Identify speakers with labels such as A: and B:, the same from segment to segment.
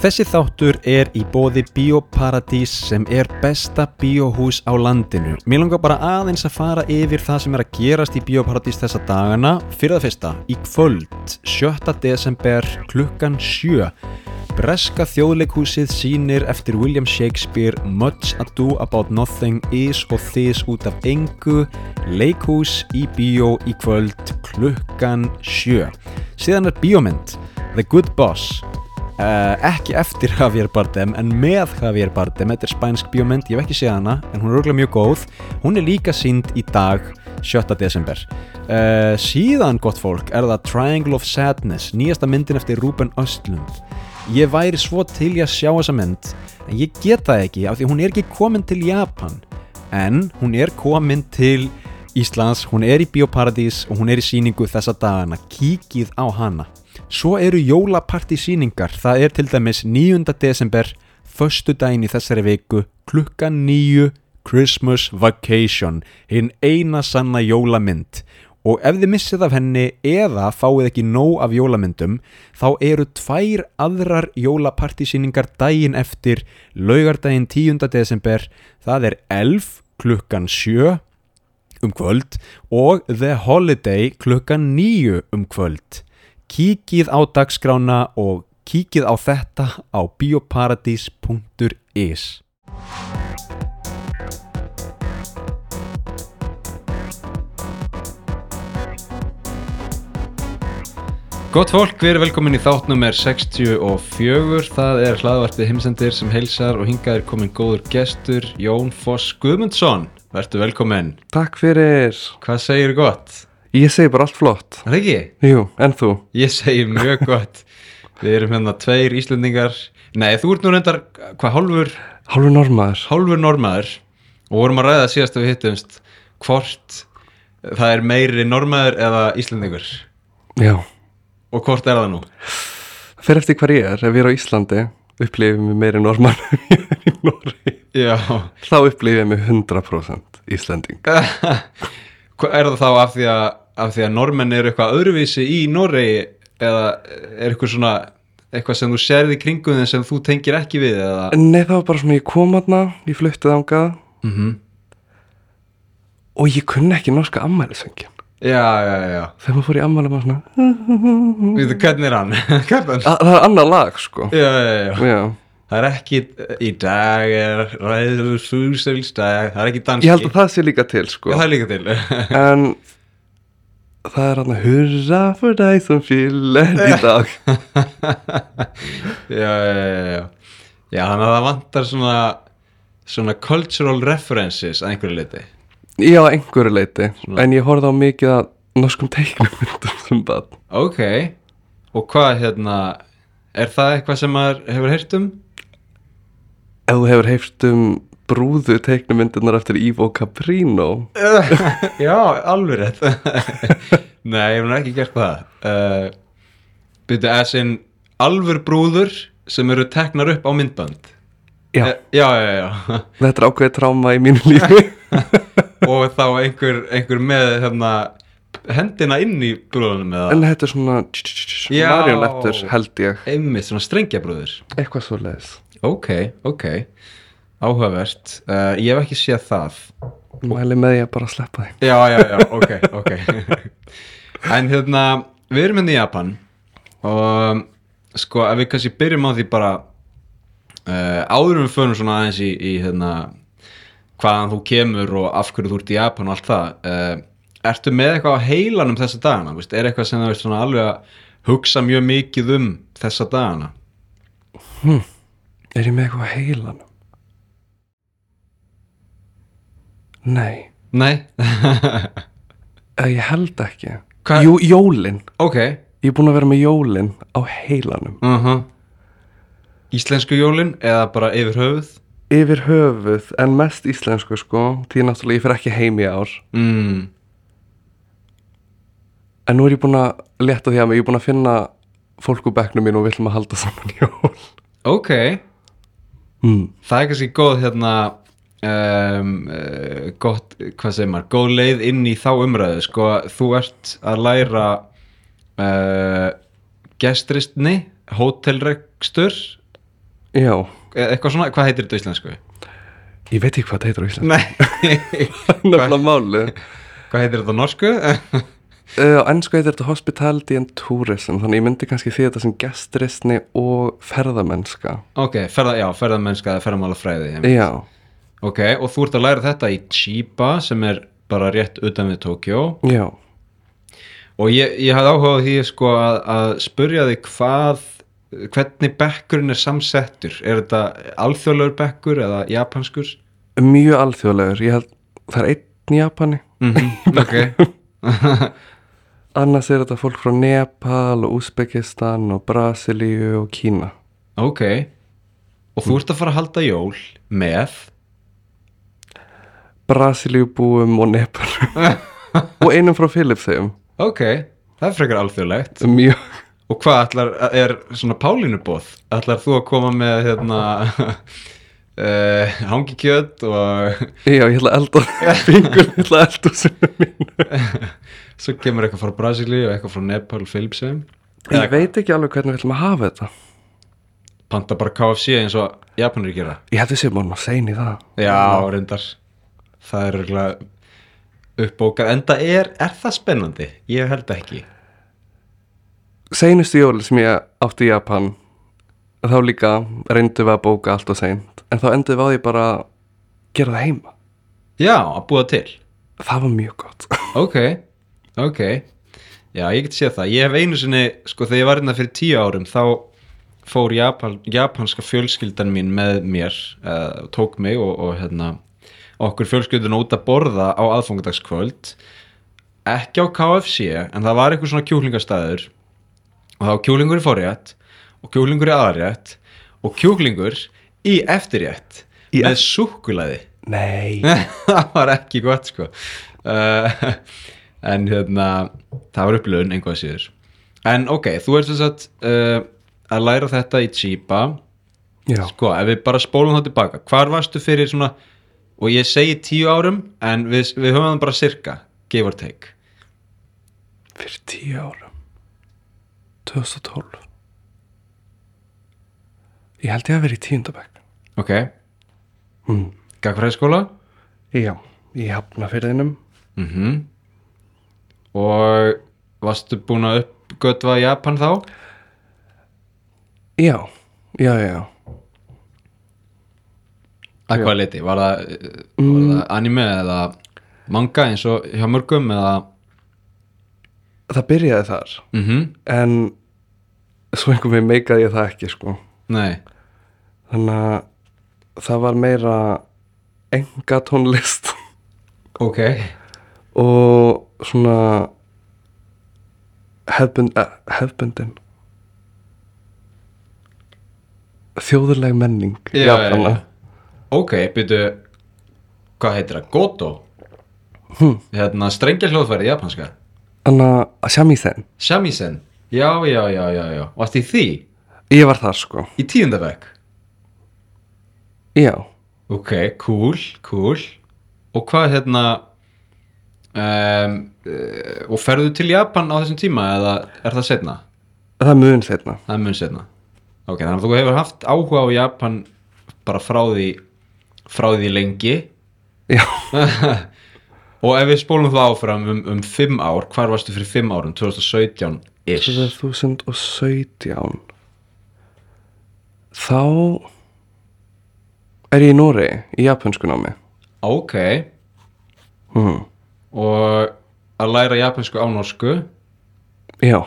A: Þessi þáttur er í bóði Bíóparadís sem er besta bíóhús á landinu. Mér langar bara aðeins að fara yfir það sem er að gerast í Bíóparadís þessa dagana. Fyrir það fyrsta, í kvöld, 7. desember, klukkan 7. Breska þjóðleikhúsið sýnir eftir William Shakespeare Much Ado About Nothing Is og This út af engu leikhús í bíó í kvöld klukkan 7. Síðan er bíómynd The Good Boss Uh, ekki eftir Javier Bardem en með Javier Bardem, þetta er spænsk bíómynd ég hef ekki séð hana, en hún er örgulega mjög góð hún er líka sínd í dag 7. desember uh, síðan gott fólk er það Triangle of Sadness, nýjasta myndin eftir Ruben Östlund ég væri svo til ég að sjá þessa mynd en ég get það ekki af því hún er ekki komin til Japan en hún er komin til Íslands, hún er í Bíóparadís og hún er í síningu þessa dagana kíkið á hana Svo eru jólapartísýningar, það er til dæmis 9. desember, förstu daginn í þessari viku, klukkan 9, Christmas Vacation, hinn eina sanna jólamynd. Og ef þið missið af henni eða fáið ekki nóg af jólamyndum, þá eru tvær aðrar jólapartísýningar daginn eftir, laugardaginn 10. desember, það er 11 klukkan 7 um kvöld og The Holiday klukkan 9 um kvöld. Kíkið á dagskrána og kíkið á þetta á bioparadís.is Gott fólk, við erum velkomin í þátt nummer 64. Það er hlaðvarpið heimsendir sem heilsar og hingað er komin góður gestur Jón Foss Guðmundsson. Vertu velkomin.
B: Takk fyrir.
A: Hvað segir gott?
B: Ég segi bara allt flott.
A: Er það ekki?
B: Jú, en þú?
A: Ég segi mjög gott Við erum hérna tveir Íslendingar Nei, þú ert nú reyndar, hvað, hálfur
B: Hálfur normaður.
A: hálfur normaður og vorum að ræða síðast að við hittumst hvort það er meiri normaður eða Íslendingur
B: Já.
A: og hvort er það nú
B: Fyrir eftir hvar ég er, ef ég er á Íslandi, upplifum ég meiri normaður en ég er í Nóri.
A: Já
B: Þá upplifum ég mig 100% Íslanding.
A: Hva- Er það þá af því að, af því að normenn eru eitthvað öðruvísi í Noregi eða er eitthvað svona eitthvað sem þú sérði kringum þeim sem þú tengir ekki við eða
B: Nei, það var bara svona, ég kom aðna, ég fluttið ángað
A: mm
B: Mhm. og ég kunni ekki norska ammælisöngin.
A: Já, já, já
B: Þegar maður fór í ammæli maður svona,
A: Við þú, hvernig er hann? Hvernig?
B: að, það er annað lag, sko.
A: Já, já, já
B: Já.
A: Það er ekki, í dag er ræður fúsilsdag, það er ekki danski.
B: Ég held að það sé líka til, sko.
A: Já, það er líka til.
B: En það er hann að hurra for deg sem fyllir í dag.
A: já, já, já, já. Já, þannig að það vantar svona, svona cultural references að einhverju liti.
B: Já, að einhverju leiti, en ég horfði á mikið að norskum teiknumyndum sem bann.
A: Ok, og hvað hérna, er það eitthvað sem maður hefur heyrt um?
B: Ef þú hefur heyrt um brúðu teiknumyndunar eftir Ivo Caprino,
A: já, alveg rétt. Nei, ég hef nú ekki gert það. Uh, Byrju, eða sinn alvur brúður sem eru teknar upp á myndband.
B: já,
A: Eh, Já, já, já.
B: þetta er ákveðið tráma í mínu lífi.
A: og þá einhver, einhver með hérna, hendina inn í brúðunum eða
B: en þetta er svona
A: Já.
B: marionettur, held ég,
A: einmitt svona strengjabrúður
B: eitthvað svo leiðis.
A: ok, ok, áhugavert uh, ég hef ekki séð það
B: Mæli með ég að bara sleppa því.
A: já, já, já, ok, ok en hérna, við erum hérna í Japan og sko, ef við kannski byrjum á því bara uh, áður en við förum svona aðeins í, í hérna hvaðan þú kemur og af hverju þú ert í Japan og allt það uh, ertu með eitthvað á heilanum þessa dagana, veist, er eitthvað sem þú veist svona alveg að hugsa mjög mikið um þessa dagana
B: Er ég með eitthvað á heilanum? Nei,
A: nei,
B: eða ég held ekki.
A: Hvað-
B: Jú, jólin.
A: ok
B: Ég er búin að vera með jólin á heilanum.
A: uh íslensku jólin eða bara yfir höfuð
B: yfir höfuð en mest íslensku sko því náttúrulega ég fer ekki heim í ár
A: mm.
B: en nú er ég búin að leta því að mig ég er búin að finna fólk úr bekknum mín og við ætlum að halda saman jól
A: ok
B: mm.
A: það er kannski góð hérna um, uh, gott, hvað segir maður góð leið inn í þá umræðu sko, þú ert að læra uh, gestristni hótelrekstur
B: Já,
A: E- eitthvað svona, hvað heitir þetta á íslensku?
B: ég veit ekki hvað þetta heitir á Ísland
A: Nei, hvað,
B: Nefnilega málið
A: hvað heitir þetta á norsku?
B: Uh, á ennsku heitir þetta hospitality and tourism þannig ég myndi kannski því þetta sem gestristni og ferðamennska
A: ok, ferða, já, ferðamennska eða ferðamálafræði einmitt.
B: Já,
A: ok, og þú ert að læra þetta í Chiba sem er bara rétt utan við Tokjó
B: já,
A: og ég, ég hafði áhugað því sko að, að spurja þig hvað hvernig bekkurinn er samsettur er þetta alþjóðlegur bekkur eða japanskur?
B: mjög alþjóðlegur ég held, það er einn í Japani
A: Mm ok,
B: annars er þetta fólk frá Nepal og Uzbekistan og Brasilíu og Kína
A: ok og þú ert að fara að halda jól með
B: Brasilíu búum og Nepal og einum frá Filipsheim
A: ok, það er frekar alþjóðlegt
B: mjög,
A: og hvað ætlar, er svona pálínubóð ætlar þú að koma með hérna uh, hangikjöt og
B: já ég ætla að elda fingur, ég ætla að elda sinna mín
A: svo kemur eitthvað frá Brasilíu og eitthvað frá Nepal, Philipsheim
B: ég veit ekki alveg hvernig við ætlum að hafa þetta
A: panta bara KFC eins og Japanir gera
B: ég held við séum bara að segna í það
A: Já, Hérna reyndar Það er örugglega uppbókað En það er, er það spennandi? Ég held ekki
B: Seinustu jólin sem ég átti í Japan þá líka reyndum við að bóka allt og seint en þá endum við á því bara að gera það heima
A: Já, að búa til
B: það var mjög gott
A: Ok, ok Já, ég get séð það Ég hef einu sinni, sko, þegar ég var hérna fyrir tíu árum þá fór Japan, japanska fjölskyldan mín með mér uh, tók mig og, og hérna okkur fjölskyldun út að borða á aðfungardagskvöld ekki á KFC en það var eitthvað svona kjúklingastæður og þá var kjúlingur í forrétt og kjúlingur í aðrétt og kjúklingur í eftirrétt
B: Í
A: með súkkulaði
B: Nei
A: það var ekki gott sko uh, en hérna það var upplöðun einhvað síður en ok, þú ert þess að uh, að læra þetta í Chiba
B: Já,
A: sko, ef við bara spólum þá tilbaka hvar varstu fyrir svona og ég segi tíu árum en við, við höfum það bara cirka, give or take
B: fyrir tíu árum 2012 Ég held ég að vera í tíundabæk
A: ok,
B: mm.
A: gagfræðskóla
B: Já, ég hafna fyrir þinnum
A: mm og varstu búin að uppgötva Japan þá?
B: Já, já, já, já
A: að hvað leiti, var það, eh, var það anime eða manga eins og hjá mörgum eða
B: Það byrjaði þar
A: mm
B: en svo einhvern veginn meikaði ég það ekki sko
A: nei,
B: þannig að það var meira enga tónlist
A: ok
B: og svona hefbund, eh, hefbundin þjóðurleg menning
A: Já,
B: Japana.
A: já, já. ok, byrju hvað heitir það, goto
B: Hm.
A: hérna strengja hljóðfæri japanska
B: þannig að shamisen
A: shamisen, já, já, já, já, já varst í því,
B: ég var þar sko
A: í tíundabæk
B: já,
A: ok, cool, cool og hvað hérna um, uh, og ferðu til Japan á þessum tíma eða er það setna?
B: það er mun setna
A: Það er mun setna Ok, þannig að þú hefur haft áhuga á Japan bara frá því frá því lengi
B: já,
A: og ef við spólum það áfram um, um fimm ár, hvar varstu fyrir fimm árum 2017 ish
B: 2017 þá er ég í Nóri í japansku námi
A: Ok,
B: hmm.
A: og að læra japansku á norsku
B: já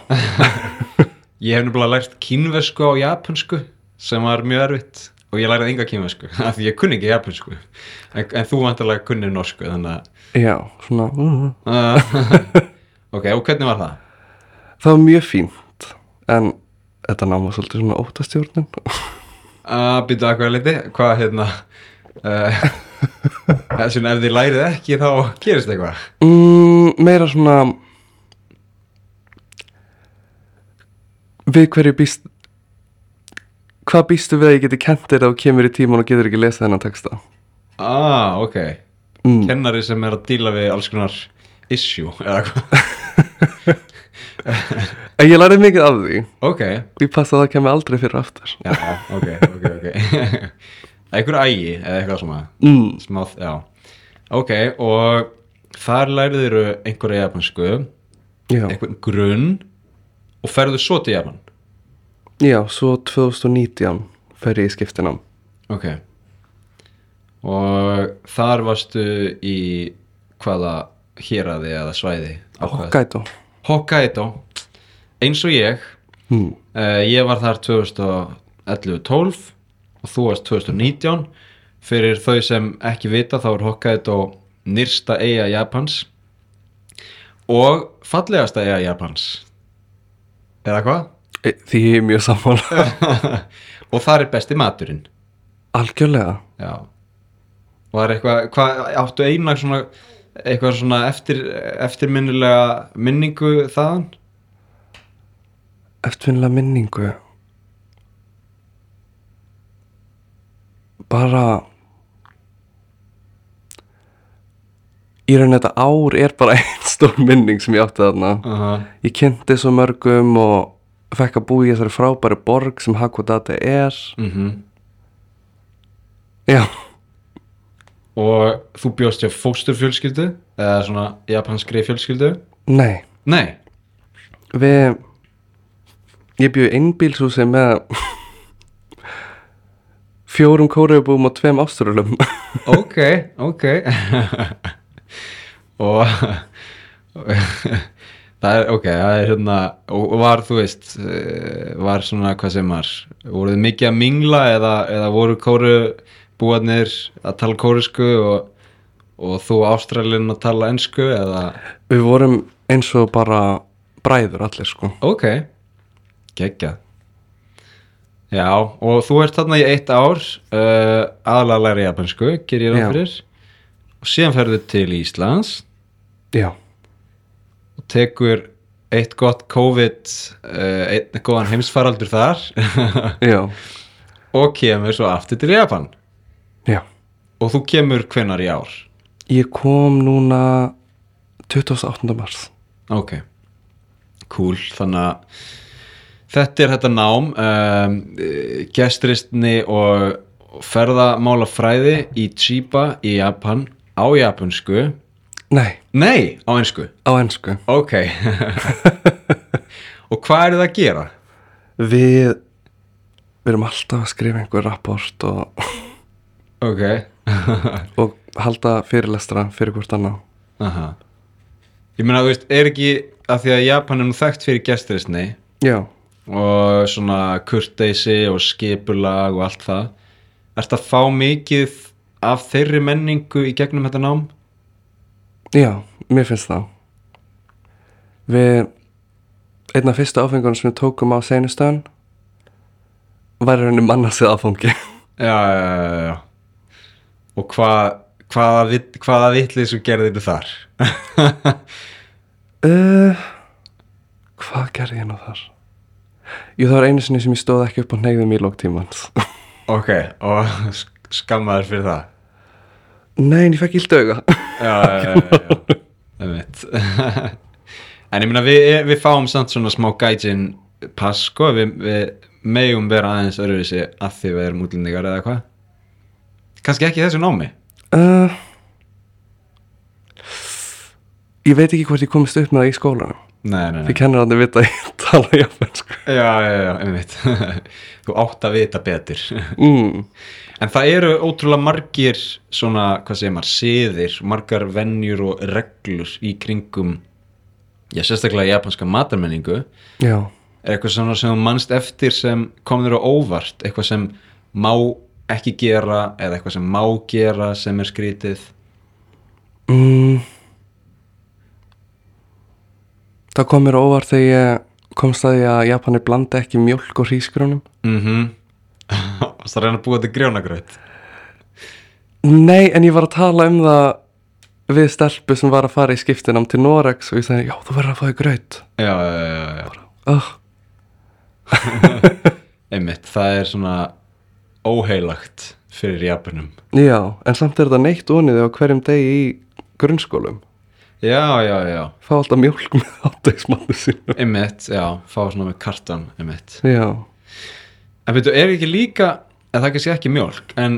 A: Ég hef nefnilega lært kínversku á japansku sem var mjög erfitt og ég lærið enga kínversku af því ég kunni ekki japansku en, en þú vantarlega kunni norsku þannig
B: Já, svona uh,
A: að Ok, og hvernig var það?
B: Það var mjög fínt En þetta náma svolítið svona óttastjórnum
A: að býta eitthvað liti hvað hérna uh, þessum ef þið lærið ekki þá gerist eitthvað
B: mm, Meira svona Við hverju býst Hvað býstu við að ég geti kent þér að þú kemur í tíman og getur ekki lesa þennan texta?
A: ah, ok,
B: Mm.
A: kennari sem er að díla við alls konar issue eða hvað
B: En ég lærið mikið af því
A: Ok,
B: og ég passa að það kemur aldrei fyrir aftur.
A: já, ok, ok, ok Einhver ægi eða eitthvað svona
B: Mm.
A: Smá, já Ok, og þar læriður einhverja japansku
B: Já.
A: einhvern grunn og ferðu svo til Japan
B: Já, svo 2019 fer ég í skiptinám.
A: Ok Og þar varstu í hvaða héraði eða svæði Ákvað-
B: Hokkaido.
A: Hokkaido Eins og ég
B: Mm.
A: Uh, ég var þar 2011-12 og þú varst 2019. Fyrir þau sem ekki vita þá er Hokkaido nyrsta eiga Japans og fallegasta eiga Japans. Eða hvað?
B: E, því ég er mjög sammála.
A: og þar er besti maturinn.
B: Algjörlega.
A: Já. Var eitthvað, hvað, áttu eina svona, eitthvað svona eftir, eftirminnilega minningu þaðan?
B: Eftirfinnilega minningu Bara Í raun þetta ár er bara einn stór minning sem ég átti þarna
A: Aha.
B: Ég kynnti svo mörgum og fekk að búi í þessari frábæri borg sem Hakodate er
A: Mhm.
B: Já,
A: Og þú bjóst hjá fósturfjölskyldu eða svona japanskri fjölskyldu?
B: nei
A: Nei,
B: Við Ég bjóði einbílshúsi með Fjórum kóraubúum og tveim ástralum
A: ok, ok og það er, ok, það er hérna og og var, þú veist eh, var svona, hvað sem var voruð þið mikið að mingla eða, eða voru kóru búarnir að tala kórusku og, og þú ástralinn að tala ensku eða,
B: Við vorum eins og bara bræður allir sko.
A: ok geggjað já, og þú ert þarna í eitt ár uh, aðalega læri japansku, ger ég
B: Já.
A: ráð fyrir og síðan ferðu til Íslands
B: Já.
A: og tekur eitt gott COVID uh, einn góðan heimsfaraldur þar
B: Já.
A: og kemur svo aftur til Japan
B: Já.
A: og þú kemur hvenar í ár
B: Ég kom núna 28. mars.
A: ok, cool þannig að þetta er þetta nám um, eh, gestristni og ferðamálafræði í Chiba í Japan á japansku
B: Nei,
A: nei, á einsku
B: á ennsku.
A: ok og hvað er það að gera?
B: Við, við erum alltaf að skrifa einhver rapport og,
A: ok
B: og halda fyrirlestra fyrir hvort annað.
A: Aha. Ég meina, þú veist, er ekki að því að Japan er nú þekkt fyrir gesturisni
B: Já.
A: og svona kurteisi og skipulag og allt það Ertu að fá mikið af þeirri menningu í gegnum þetta nám?
B: Já, mér finnst það. Við, einn af fyrstu áfengunum sem við tókum á seinustöðan var henni mannarsið áfengi.
A: Já, já, já, já, já. Og hvað, hvaða, vit- hvaða vitlið sem gerði þetta þar?
B: Uh, hvað gerði ég nú þar? Jú, það var einu sinni sem ég stóð ekki upp á neyðum í lóktímans.
A: ok, og sk- skammaður fyrir það
B: Nei, en ég fekk illt auga.
A: já, já, já, já. einmitt en ég meina við, við fáum samt svona smá gætin pass sko, við, við megum vera aðeins öruvísi að því við erum útlendingar eða hvað kannski ekki í þessu námi
B: uh, ég veit ekki hvort ég komist upp með það í skólanum.
A: nei, nei,
B: Því kennir hann að vita að ég tala japansku.
A: já, já, já, einmitt þú átt að vita betur
B: Mm,
A: en það eru ótrúlega margir svona, hvað segir maður, siðir margar venjur og reglur í kringum já, sérstaklega japanska matarmenningu
B: já,
A: er eitthvað svona sem þú manst eftir sem kom þér á óvart eitthvað sem má ekki gera eða eitthvað sem má gera sem er skrítið
B: mm, það kom mér á óvart þegar ég komst að því að Japani blanda ekki mjölk og hrísgrunum.
A: mhm og það reyna að búa til grjónagraut
B: Nei, en ég var að tala um það við stelpu sem var að fara í skiptinam til Norex og ég sagði, já, þú verður að fá í gröð.
A: já, já, já, já,
B: Oh,
A: einmitt það er svona óheilagt fyrir japanum
B: já, en samt er þetta neitt onið á hverjum degi í grunnskólum.
A: já, já, já,
B: fá alltaf mjólk með áttagsmannu sínum
A: einmitt, já, fá svona með kartan, einmitt.
B: já,
A: En veitu, er ekki líka, en það er kannski ekki mjólk, en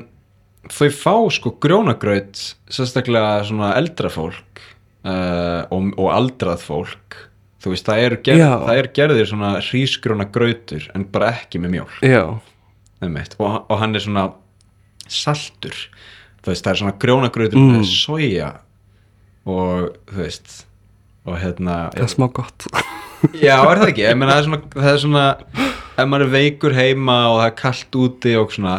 A: þau fá sko grjónagraut, sérstaklega svona eldra fólk uh, og, og aldrað fólk, þú veist, það eru gerð,
B: Já.
A: það er gerðir svona hrísgrjónagrautur, en bara ekki með mjólk,
B: já,
A: einmitt, og, og hann er svona saltur, þú veist, það er svona grjónagrautur mm. með soja og, þú veist, og hérna,
B: það er smá gott
A: Já, er það ekki? Ég meina, það er svona, það er svona ef maður er veikur heima og það er kallt úti og svona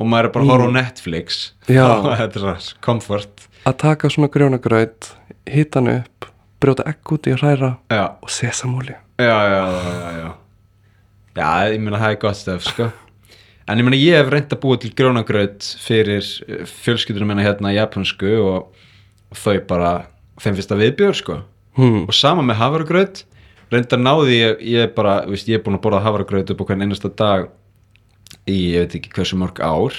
A: og maður er bara að horfa á Netflix
B: Já.
A: og þetta er svona komfort
B: að taka svona grjónagraut hita hann upp, brjóta egg út í að hræra
A: já,
B: og sesamúli
A: já, já, já, já, já Já, ég meina, það er gott stöf, sko En ég meina, ég hef reynd að búa til grjónagraut fyrir eh, fjölskyldunum minna hérna japansku og, og þau bara, þeim finnst það viðbjör, sko
B: hmm.
A: og sama með havragraut reyndar náði ég, ég bara þú veist, ég er búin að borða havragraut upp á hvern einasta dag í ég veit ekki hversu mörg ár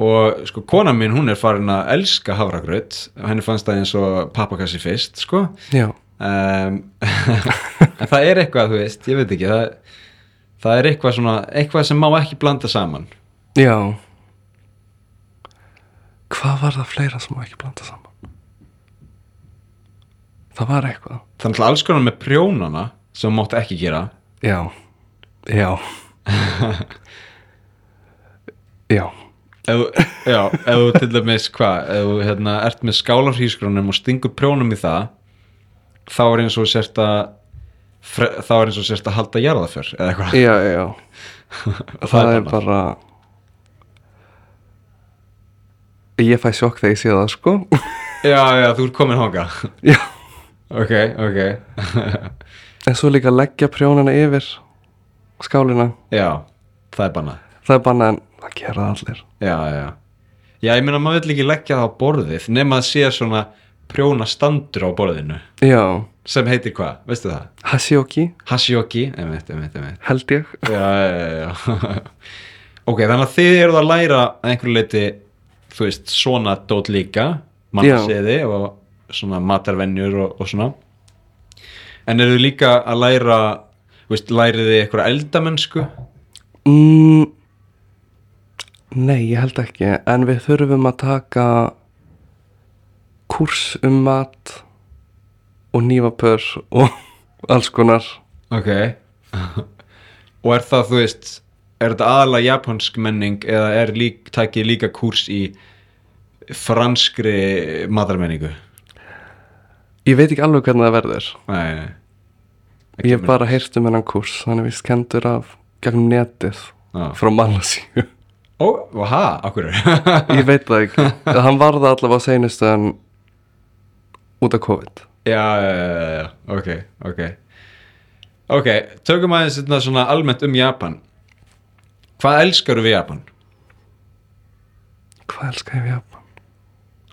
A: og sko kona mín hún er farin að elska havragraut henni fannst það eins og pappakassi fyrst sko
B: já,
A: um, en það er eitthvað þú veist, ég veit ekki það, það er eitthvað svona, eitthvað sem má ekki blanda saman
B: já hvað var það fleira sem má ekki blanda saman það var
A: það
B: eitthvað
A: er náttúrulega alls konar með prjónana sem mátt ekki gera
B: já, já já
A: Ef þú- Já, ef þú til dæmis hvað, ef þú hérna, ert með skálarhísgrónum og stingur prjónum í það þá er eins og sért að fre- þá er eins og sért að halda jarðaför eða eitthvað,
B: já, já það, er
A: bannað.
B: bara ég fæ sjokk þegar ég sé það sko
A: já, já, þú ert komin hóka
B: já.
A: ok, ok
B: en svo líka leggja prjónina yfir skálina
A: já, það er bannað
B: það er bara en það gera það allir
A: já, já, já, ég meina maður vill ekki leggja það á borðið nema að sé svona prjóna standur á borðinu
B: já,
A: sem heitir hvað, veistu það?
B: Hashioki
A: Hashioki, einmitt, einmitt, einmitt
B: held ég
A: já, já, já. ok, þannig að þið eruð að læra að einhverju leiti, þú veist, svona dót líka, mannsiði og svona matarvenjur og, og svona en eruð þið líka að læra þú veist, lærið þið einhverja eldamennsku
B: mm, nei, ég held ekki en við þurfum að taka kurs um mat og nývapör og alls konar
A: ok og er það, þú veist er þetta aðalega japansk menning eða er lík, takið líka kurs í franskri matarmenningu
B: ég veit ekki alveg hvernig það verður
A: nei, nei Það
B: Ég hef
A: kemur-
B: bara heyrt um hennan kurs, hann er vist kendur af gegnum netið
A: Já.
B: frá Malasíu.
A: Ó, og hæ, okkur
B: Ég veit það ekki. hann var það allavega á seinustu en út af COVID.
A: já, já, já, já, já, ok, ok Ok, tökum aðeins þetta svona almennt um Japan Hvað elskaru við Japan?
B: Hvað elskar ég við Japan?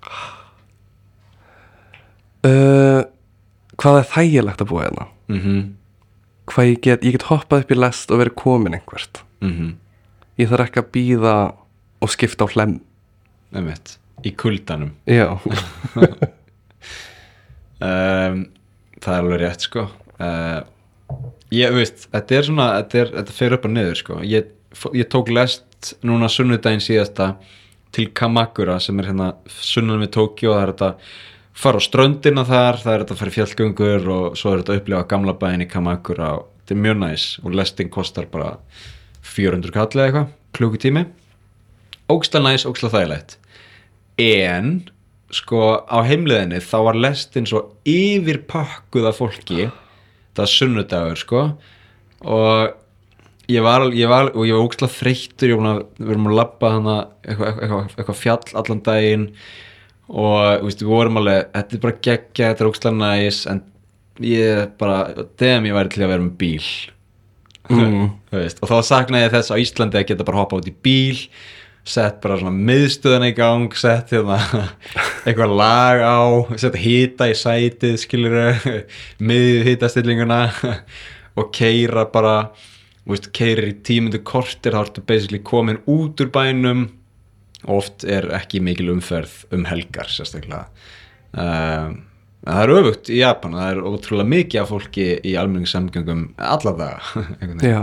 B: Uh, hvað er þægilegt að búa hérna?
A: Mhm,
B: Hvað ég get, ég get hoppað upp í lest og verið komin einhvert.
A: mhm,
B: Ég þarf ekki að býða og skipta á hlem.
A: einmitt Í kuldanum
B: Já,
A: um, Það er alveg rétt, sko uh, Ég, þú veist, þetta er svona, þetta, er, þetta fer upp og niður, sko Ég, fó- ég tók lest núna sunnudaginn síðasta til Kamakura sem er hérna sunnan við Tókjó það er þetta fara á ströndina þar það er þetta að fara í fjallgöngur og svo er þetta að upplifa gamla bæinn í Kamakura og þetta er mjög næs og lestin kostar bara 400 kall eða eitthvað, klukkutími ógsta næs, ógsta þægilegt en sko á heimliðinni þá var lestin svo yfirpökkuð af fólki það er sunnudagur sko og ég var, al- ég var og ég var ógstlega þreyttur ég var búinn að, við vorum að labba hana eitthvað eitthva, eitthva fjall allan daginn og þú veist, við vorum alveg þetta er bara geggja, þetta er ógstlega næs en ég bara, dem ég væri til að vera með bíl
B: mm,
A: Þú veist, og þá saknaði ég þess á Íslandi að geta bara hoppa út í bíl sett bara svona miðstöðan í gang sett hérna eitthvað lag á, sett hýta í sætið skilur miðið hýtastillinguna og keira bara þú veist, keirir í tímundu kortir þá ertu basically komin út úr bænum og oft er ekki mikil umferð um helgar sérstaklega um, Það er öfugt í Japan, það er ótrúlega mikið af fólki í almenningssamgöngum alla daga einhvern veginn.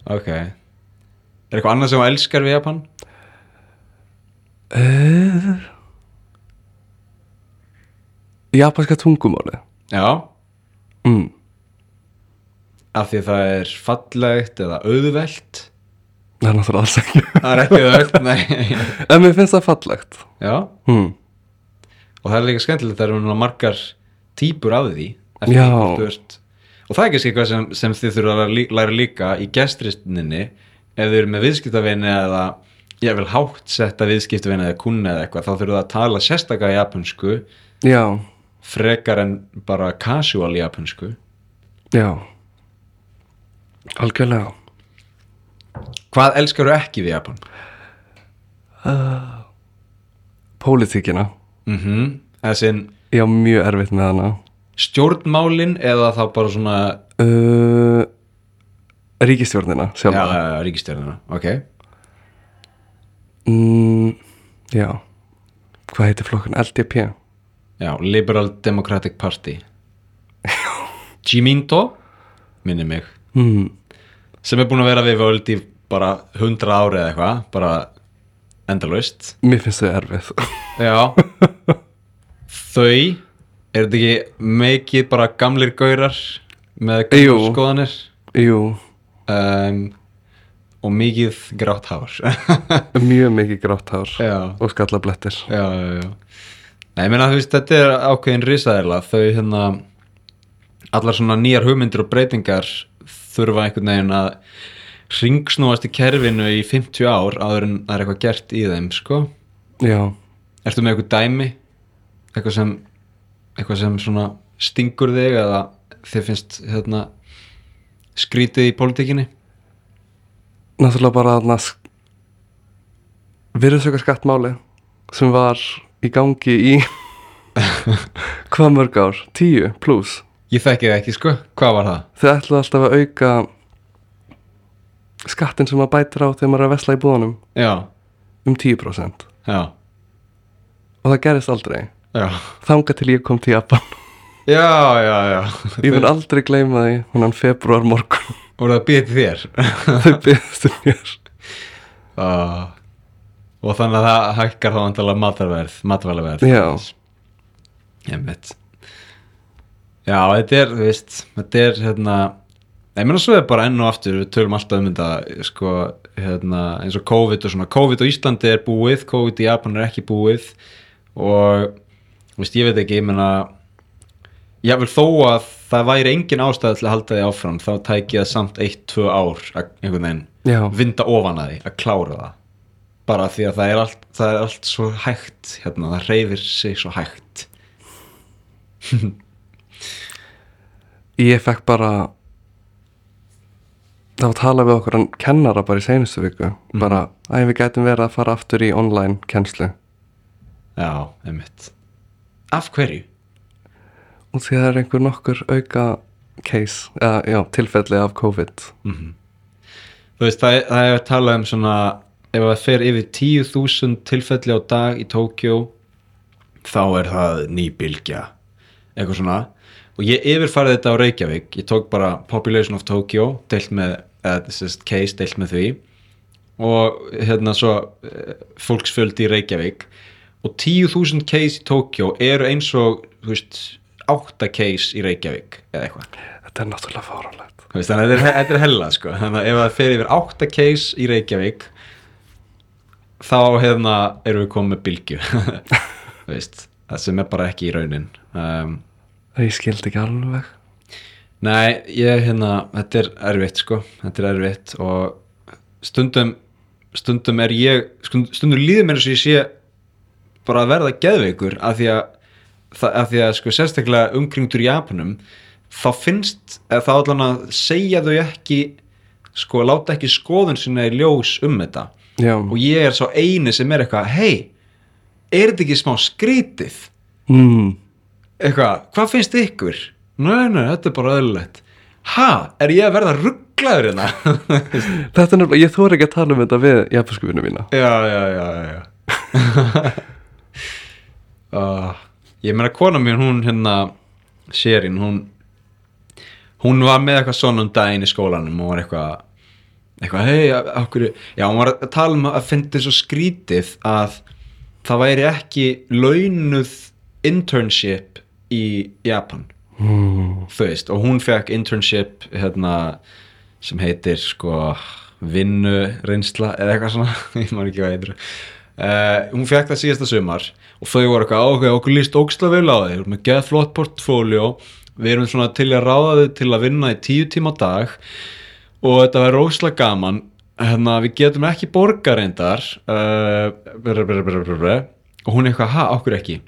B: Já,
A: Ok Er eitthvað annað sem þú elskar við Japan?
B: Uh. japanska tungumáli
A: Já,
B: mm.
A: af því að það er fallegt eða auðvelt
B: Það er náttúrulega alls ekki
A: Það er ekki auðvelt, nei
B: En mér finnst það fallegt
A: Já,
B: mm.
A: og það er líka skemmtilegt það eru núna margar típur af því eftir
B: Já.
A: því hvort þú ert- og það er kannski eitthvað sem, sem þið þurfa að lí- læra líka í gestristinni ef þið eru með viðskiptavinni eða ég vil hátt setta viðskiptavinni eða kunna eða eitthvað þá þurfa það að tala sérstaklega japansku
B: Já,
A: frekar en bara casual japansku
B: já Algjörlega
A: hvað elskar þú ekki við Japan?
B: Pólitíkina
A: Mm -hmm. þessi
B: Ég á mjög erfitt með hana
A: stjórnmálin eða þá bara svona
B: uh, Ríkistjórnina
A: já,
B: sjálf
A: já, já, ríkistjörnina, ok
B: mm, já Hvað heitir flokkun? LDP
A: Já, Liberal Democratic Party Jiminto minni mig
B: mm.
A: sem er búin að vera við völd í bara 100 ári eða eitthvað bara endalaust
B: Mér finnst þau erfið
A: Já Þau er þetta ekki mikið bara gamlir gaurar með
B: Jú.
A: gamlar skoðanir
B: Jú,
A: um, og mikið grátt hár
B: mjög mikið grátt hár
A: Já
B: og skallablettir
A: já, já, já. Nei, ég meina, þú veist, þetta er ákveðin risaðila þau hérna allar svona nýjar hugmyndir og breytingar þurfa einhvern veginn að ringsnúast í kerfinu í 50 ár áður en það er eitthvað gert í þeim sko.
B: Já,
A: Ertu með eitthvað dæmi eitthvað sem, eitthvað sem svona stingur þig eða þið finnst hérna, skrítið í pólitíkinni?
B: náttúrulega bara þarna virðsöka skattmáli sem var í gangi í hvað mörg ár? Tíu pluss
A: Ég þekki það ekki, sko. Hvað var það?
B: Þið ætlaðu alltaf að auka skattin sem maður bætir á þegar maður er að vesla í búðunum
A: Já,
B: um 10%
A: já,
B: og það gerist aldrei
A: já,
B: þanga til ég kom til Japan
A: já, já, já.
B: ég mun aldrei gleyma því húnan februar morgun
A: Voru það býðið þér?
B: þau byggðist um mér
A: Uh, og þannig að það hækkar þá andalega matarverð, matvælaverð
B: Já.
A: Einmitt. Já, þetta er, þú veist þetta er, hérna ég meina svo er bara enn og aftur, við tölum alltaf um þetta sko, hérna, eins og COVID og svona, COVID á Íslandi er búið COVID í Japan er ekki búið og, þú veist, ég veit ekki, ég meina ég vil þó að það væri engin ástæða til að halda því áfram þá tæki það samt 1-2 ár að einhvern veginn
B: Já,
A: vinda ofan að því að klára það bara því að það er allt, það er allt svo hægt hérna, það reyfir sig svo hægt
B: ég fekk bara það var að tala við okkur en kennara bara í seinustu viku bara að við gætum verið að fara aftur í online kennslu
A: já, einmitt af hverju?
B: og því að það er einhver nokkur auka case, eða, já, tilfelli af COVID
A: þú veist, það, það hefur talað um svona ef það fer yfir 10.000 tilfelli á dag í Tókjó þá er það nýbylgja eitthvað svona og ég yfirfarið þetta á Reykjavík ég tók bara Population of Tokyo deilt með, eða sérst case deilt með því og hérna svo eh, fólksfjöldi í Reykjavík og 10.000 case í Tókjó eru eins og þú veist, 8 case í Reykjavík eða eitthvað
B: þetta er náttúrulega fáránlegt
A: Þú veist, þannig að þetta er, þetta er hella sko. þannig að ef það fer yfir 8 case í Reykjavík þá hefna erum við komið með bylgju Þú veist, það sem er bara ekki í raunin um,
B: það ég skildi ekki alveg
A: nei, ég hérna þetta er erfitt sko, þetta er erfitt og stundum stundum er ég, stund- stundum líður mér eins og ég sé bara að verða geðveikur af því að, það, af því að sko, sérstaklega umkringdur Japanum þá finnst, eða þá allan að segja þau ekki sko, láta ekki skoðun sinna í ljós um þetta
B: já,
A: og ég er svo eini sem er eitthvað hei, er þetta ekki smá skrítið
B: mm.
A: eitthvað, hvað finnst ykkur? Nei, nei, þetta er bara öðrulegt ha, er ég að verða rugglaður hérna?
B: þetta er nefnilega, ég þóra ekki að tala um þetta við japansku vinnu mína
A: já, já, já, já, já. Ah, ég meina kona mín hún hérna Sherin, hún hún var með eitthvað svona um daginn í skólanum og var eitthvað eitthvað, hei, okkur, já, hún var að tala um að fyndi svo skrítið að það væri ekki launuð internship í Japan
B: Mm.
A: þú veist, og hún fekk internship hérna, sem heitir sko, vinnu reynsla eða eitthvað svona, ég maður ekki hvað heitir Uh, hún fekk það síðasta sumar og þau voru eitthvað áhuga, okkur líst ógstlega vel á þig, við erum með geð flott portfóljó við erum svona til að ráða þau til að vinna í tíu tíma á dag og þetta verður ógstlega gaman hérna, við getum ekki borga reyndar uh, brr, brr, brr, brr, brr. og hún eitthvað, ha, okkur ekki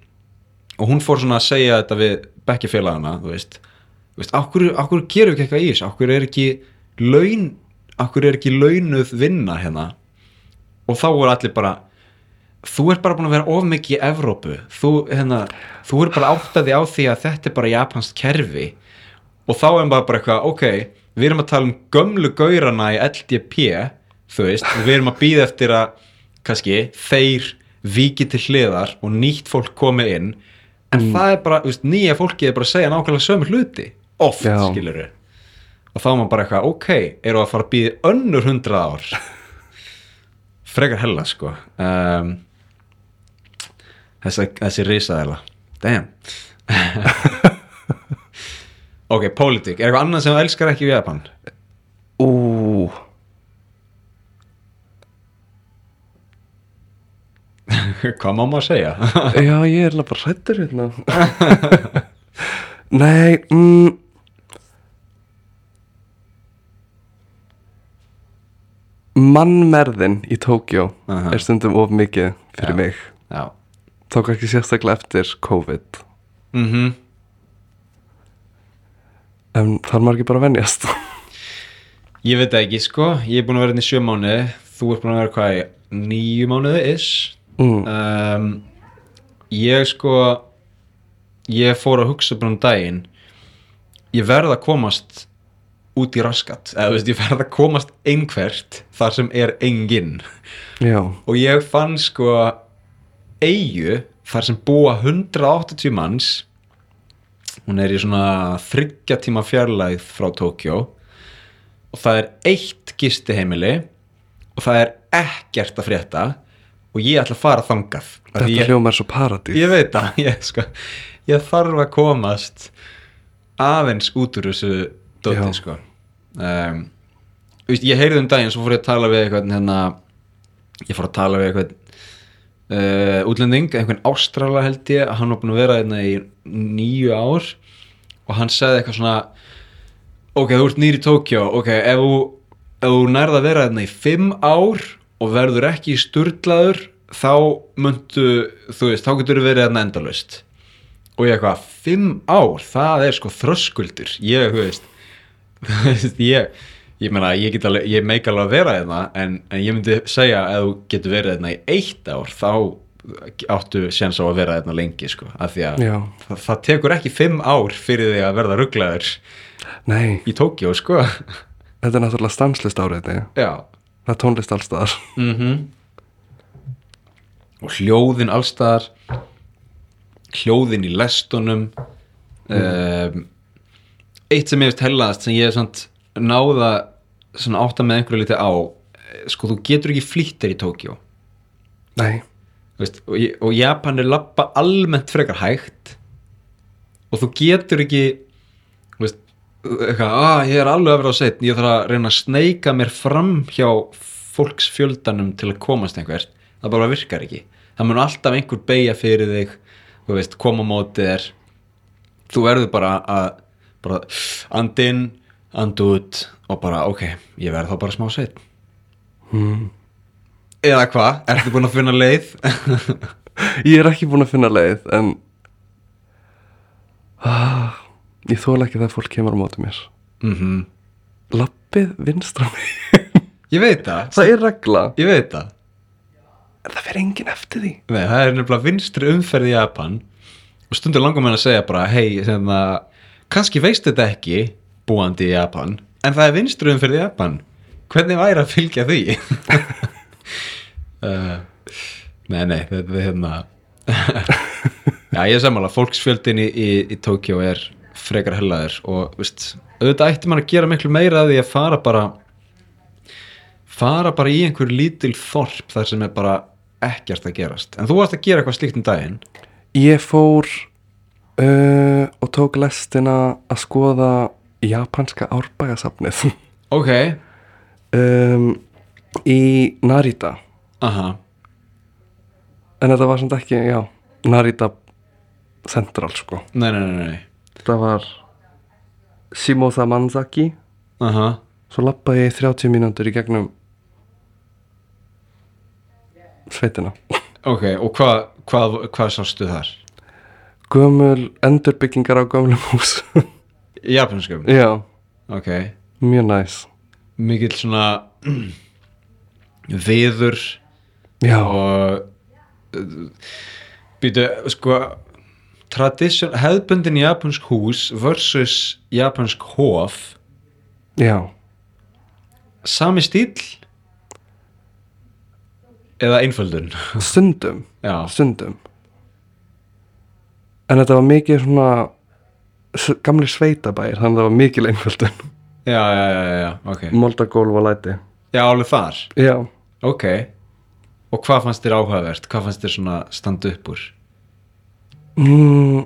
A: og hún fór svona að segja þetta við bekkjafélagana, þú veist Þú veist, okkur, okkur gerum við ekki eitthvað í þessu okkur er ekki laun okkur er ekki launuð vinna hérna og þá voru allir bara þú ert bara búin að vera of mikið í Evrópu þú, hérna, þú ert bara áttaði á því að þetta er bara japansk kerfi og þá er bara, bara eitthvað, ok við erum að tala um gömlu gaurana í LDP, þú veist og við erum að býða eftir að, kannski þeir viki til hliðar og nýtt fólk komi inn en það er bara, þú veist, nýja fólki er bara að segja nákvæmlega sömu hluti, oft
B: Já.
A: skilur við og þá er maður bara eitthvað, ok eru að fara að býða önnur hundra ár frekar hella sko um, þessi, þessi risaðela damn ok, pólitík, er eitthvað annað sem þú elskar ekki við Japan?
B: Ú
A: hvað má maður segja?
B: Já, ég er alveg bara hrættur hérna Nei mm, Mannmerðin í Tókjó
A: Aha.
B: er stundum of mikið fyrir
A: Já.
B: mig
A: já
B: Tók ekki sérstaklega eftir COVID
A: mm
B: En það er maður ekki bara að venjast
A: ég veit það ekki sko, ég er búin að vera hérna í sjö mánuði þú ert búin að vera hvað í níu mánuði ish
B: mm,
A: um, ég sko ég fór að hugsa bara um daginn ég verð að komast út í raskat eða þú veist, ég verð að komast einhvert þar sem er enginn
B: Já,
A: og ég fann sko eigu þar sem búa 180 manns hún er í svona þryggja tíma fjarlægð frá Tókjó og það er eitt gistiheimili og það er ekkert að frétta og ég ætla að fara þangað Af
B: þetta
A: því ég,
B: hljóma er svo paradís
A: ég veit það ég, sko, ég þarf að komast aðeins út úr þessu
B: Já.
A: dóti sko. um, þú veist, ég heyrði um daginn svo fór ég að tala við eitthvað hérna, ég fór að tala við eitthvað uh, útlending, einhvern ástrala held ég hann var búin að vera hérna í nýju ár og hann sagði eitthvað svona ok, þú ert nýr í Tókjó ok, ef þú, ef þú nærð að vera hérna í fimm ár og verður ekki sturlaður þá myndu, þú veist, þá getur verið hérna endalaust og ég eitthvað, fimm ár, það er sko þröskuldur, ég, þú veist þú veist, ég ég meina, ég get alveg, ég meik alveg að vera hérna en, en ég myndi segja að þú getur verið hérna í eitt ár, þá áttu séns á að vera hérna lengi sko, af því að
B: Já,
A: það, það tekur ekki fimm ár fyrir því að verða rugglaður
B: nei,
A: í Tókjó, sko
B: þetta er náttúrulega stanslist áriði
A: já,
B: Það er tónlist allstaðar
A: mm og hljóðin allstaðar hljóðin í lestunum um, eitt sem ég veist hellaðast sem ég hef samt náða svona átta með einhverju liti á eh, sko þú getur ekki flýtt þér í Tókjó
B: Nei,
A: Þú veist, og, ég- og Japan er lappa almennt frekar hægt og þú getur ekki þú veist, eitthvað, að ég er alveg að vera á setn ég þarf að reyna að sneika mér fram hjá fólksfjöldanum til að komast einhvert, það bara virkar ekki það mun alltaf einhver beigja fyrir þig þú veist, koma á móti þér þú verður bara að bara andin, andu út og bara ok, ég verð þá bara smá setn
B: mm.
A: eða hvað, ertu búin að finna leið
B: Ég er ekki búin að finna leið en ah, ég þóla ekki þegar fólk kemur á móti mér
A: mhm
B: Lappið vinstra mig
A: Ég veit það,
B: Það er regla
A: ég veit það
B: en það fer enginn eftir því
A: Nei, það er nefnilega vinstri umferð í Japan og stundur langar mér að segja bara hei, sem að, kannski veist þetta ekki búandi í Japan en það er vinstri umferð í Japan hvernig væri að fylgja því? Eh, uh, nei, nei, þetta er hérna Já, ég er sammála, fólksfjöldin í, í, í Tókjó er frekar hellaður og veist, auðvitað ætti mann að gera miklu meira af því að fara bara fara bara í einhver lítil þorp þar sem er bara ekkert að gerast en þú varst að gera eitthvað slíkt um daginn
B: Ég fór uh, og tók lestina að skoða japanska árbægasafnið
A: Ok,
B: um, í Narita
A: aha,
B: en þetta var samt ekki, já, Narita Central sko
A: nei, nei, nei, nei
B: það var Shimoza Manzaki
A: aha,
B: svo lappaði ég í 30 mínútur í gegnum sveitina
A: ok, og hvað hva, hva sástu þar?
B: gömul endurbyggingar á gömlum hús
A: Í japanskum?
B: já,
A: Ok,
B: mjög næs
A: mikill svona viður
B: já,
A: og býtu, sko tradition, hefðbundin japansk hús versus japansk hof
B: já
A: sami stíl eða einföldun
B: stundum
A: já,
B: stundum en þetta var mikið svona s- gamli sveitabæir þannig að það var mikil einföldun
A: já, já, já, já, ok
B: moldagólf og læti
A: já, alveg þar,
B: já,
A: ok og hvað fannst þér áhugavert, hvað fannst þér svona standa upp úr
B: mm,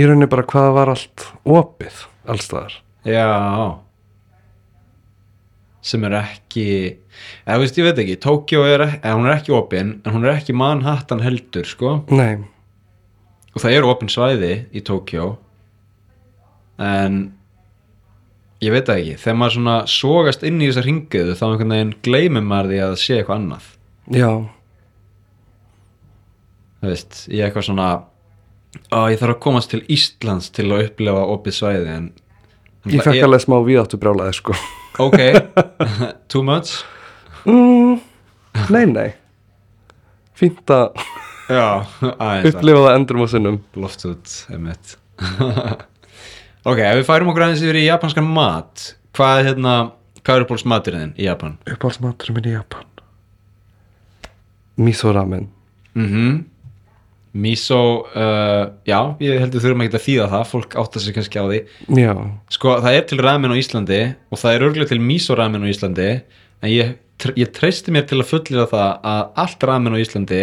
B: í rauninni bara hvað það var allt opið alls staðar
A: já sem er ekki eða veist, ég veit ekki, Tókjó er, ek- eða, hún er ekki opin, en hún er ekki Manhattan heldur, sko
B: nei,
A: og það eru opin svæði í Tókjó en ég veit það ekki, þegar maður svona sogast inn í þessa ringiðu þá einhvern veginn gleymir maður því að það sé eitthvað annað
B: já,
A: þú veist, ég er eitthvað svona að ég þarf að komast til Íslands til að upplefa opið svæði en en
B: ég
A: bara-
B: fekk alveg smá viðáttu brjálaði sko
A: ok, too much
B: mm, nei, nei fínt að
A: já, aðeins að-
B: upplifa það endurum og sinnum
A: loft út emitt ok, ef við færum okkur aðeins yfir í japanskan mat hvað er hérna, hvað er uppáhalds maturinn þinn í Japan?
B: uppáhaldsmaturum minn í Japan miso ramen
A: mhm Miso, uh, já, ég heldur þurfum ekki að þýða það, fólk átta sig kannski á því
B: já,
A: Sko, það er til ramen á Íslandi og það er örgulega til miso ramen á Íslandi en ég, tr- ég treysti mér til að fullira það að allt ramen á Íslandi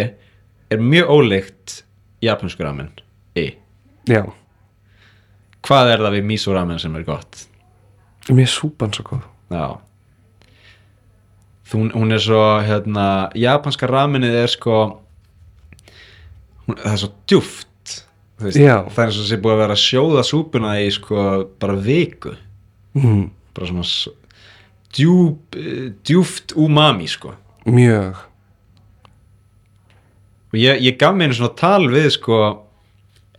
A: er mjög ólíkt japansku ramen í.
B: já
A: Hvað er það við miso ramen sem er gott?
B: mér er súpan svo góð
A: Já Þú, hún er svo hérna, japanska ramenið er sko hún, það er svo djúft þú veist,
B: Já.
A: það er svo sem búið að vera að sjóða súpuna í sko bara viku
B: mm,
A: bara svona s- djúp, eh, djúft umami sko
B: mjög
A: og ég, ég gaf mér einu svona tal við sko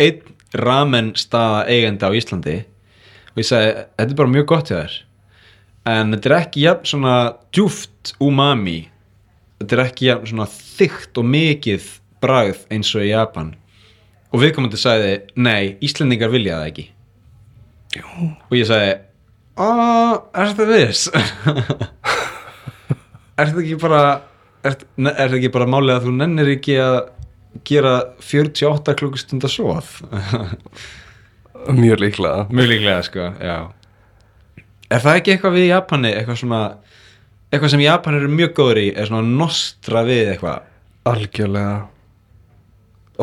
A: einn ramen staða eigandi á Íslandi og ég sagði, þetta er bara mjög gott hjá þér en þetta er ekki jafn svona djúft umami þetta er ekki jafn svona þykkt og mikið bragð eins og í Japan og viðkomandi sagði nei, Íslendingar vilja það ekki Jú. og ég sagði aaa, er þetta viss? er þetta ekki bara er, er þetta ekki bara málið að þú nennir ekki að gera 48 klukkustunda svoð
B: mjög líklega
A: mjög líklega sko, já er það ekki eitthvað við Japani eitthvað svona eitthvað sem Japan eru mjög góður í er svona að nostra við eitthvað
B: algjörlega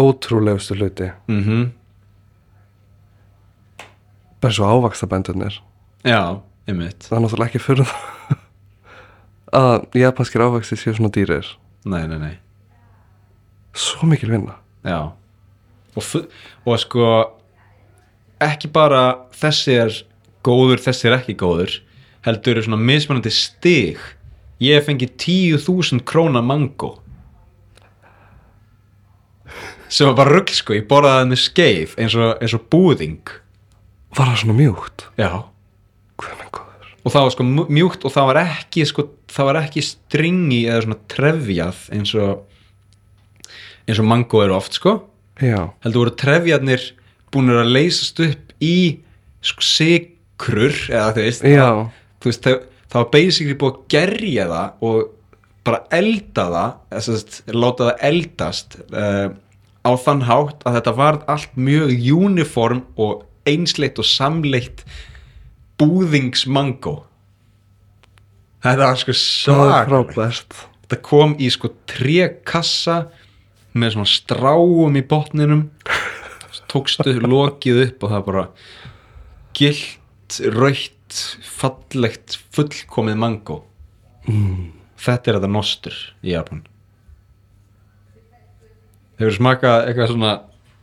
B: ótrúlegustu hluti
A: mhm
B: bara svo ávaxtabændurnir
A: já, einmitt
B: það er náttúrulega ekki fyrir það að japanskir ávaxti séu svona dýrir
A: nei, nei, nei
B: svo mikil vinna
A: Já og, fu- og sko ekki bara þessi er góður, þessi er ekki góður heldur eru svona mismunandi stig ég fengi 10.000 króna mango sem var bara rugg sko, ég borðaði það með skeif eins og, eins og búðing
B: var það svona mjúkt
A: Já.
B: hvað minn góður
A: og það var sko mj- mjúkt og það var ekki sko, það var ekki stringi eða svona trefjað eins og eins og mango eru oft sko
B: já,
A: heldur voru trefjarnir búinir að leysast upp í sko sikrur eða þú veist,
B: já,
A: þú veist það, það var basically búið að gerja það og bara elda það eða, sest, láta það eldast uh, á þann hátt að þetta varð allt mjög uniform og einsleitt og samleitt búðingsmango þetta var sko
B: það er
A: svak
B: frábært
A: þetta kom í sko trekassa með svona stráum í botninum Svo tókstu lokið upp og það bara gilt, rautt fallegt, fullkomið mango mm. þetta er þetta nostur í Japan hefur smakað eitthvað svona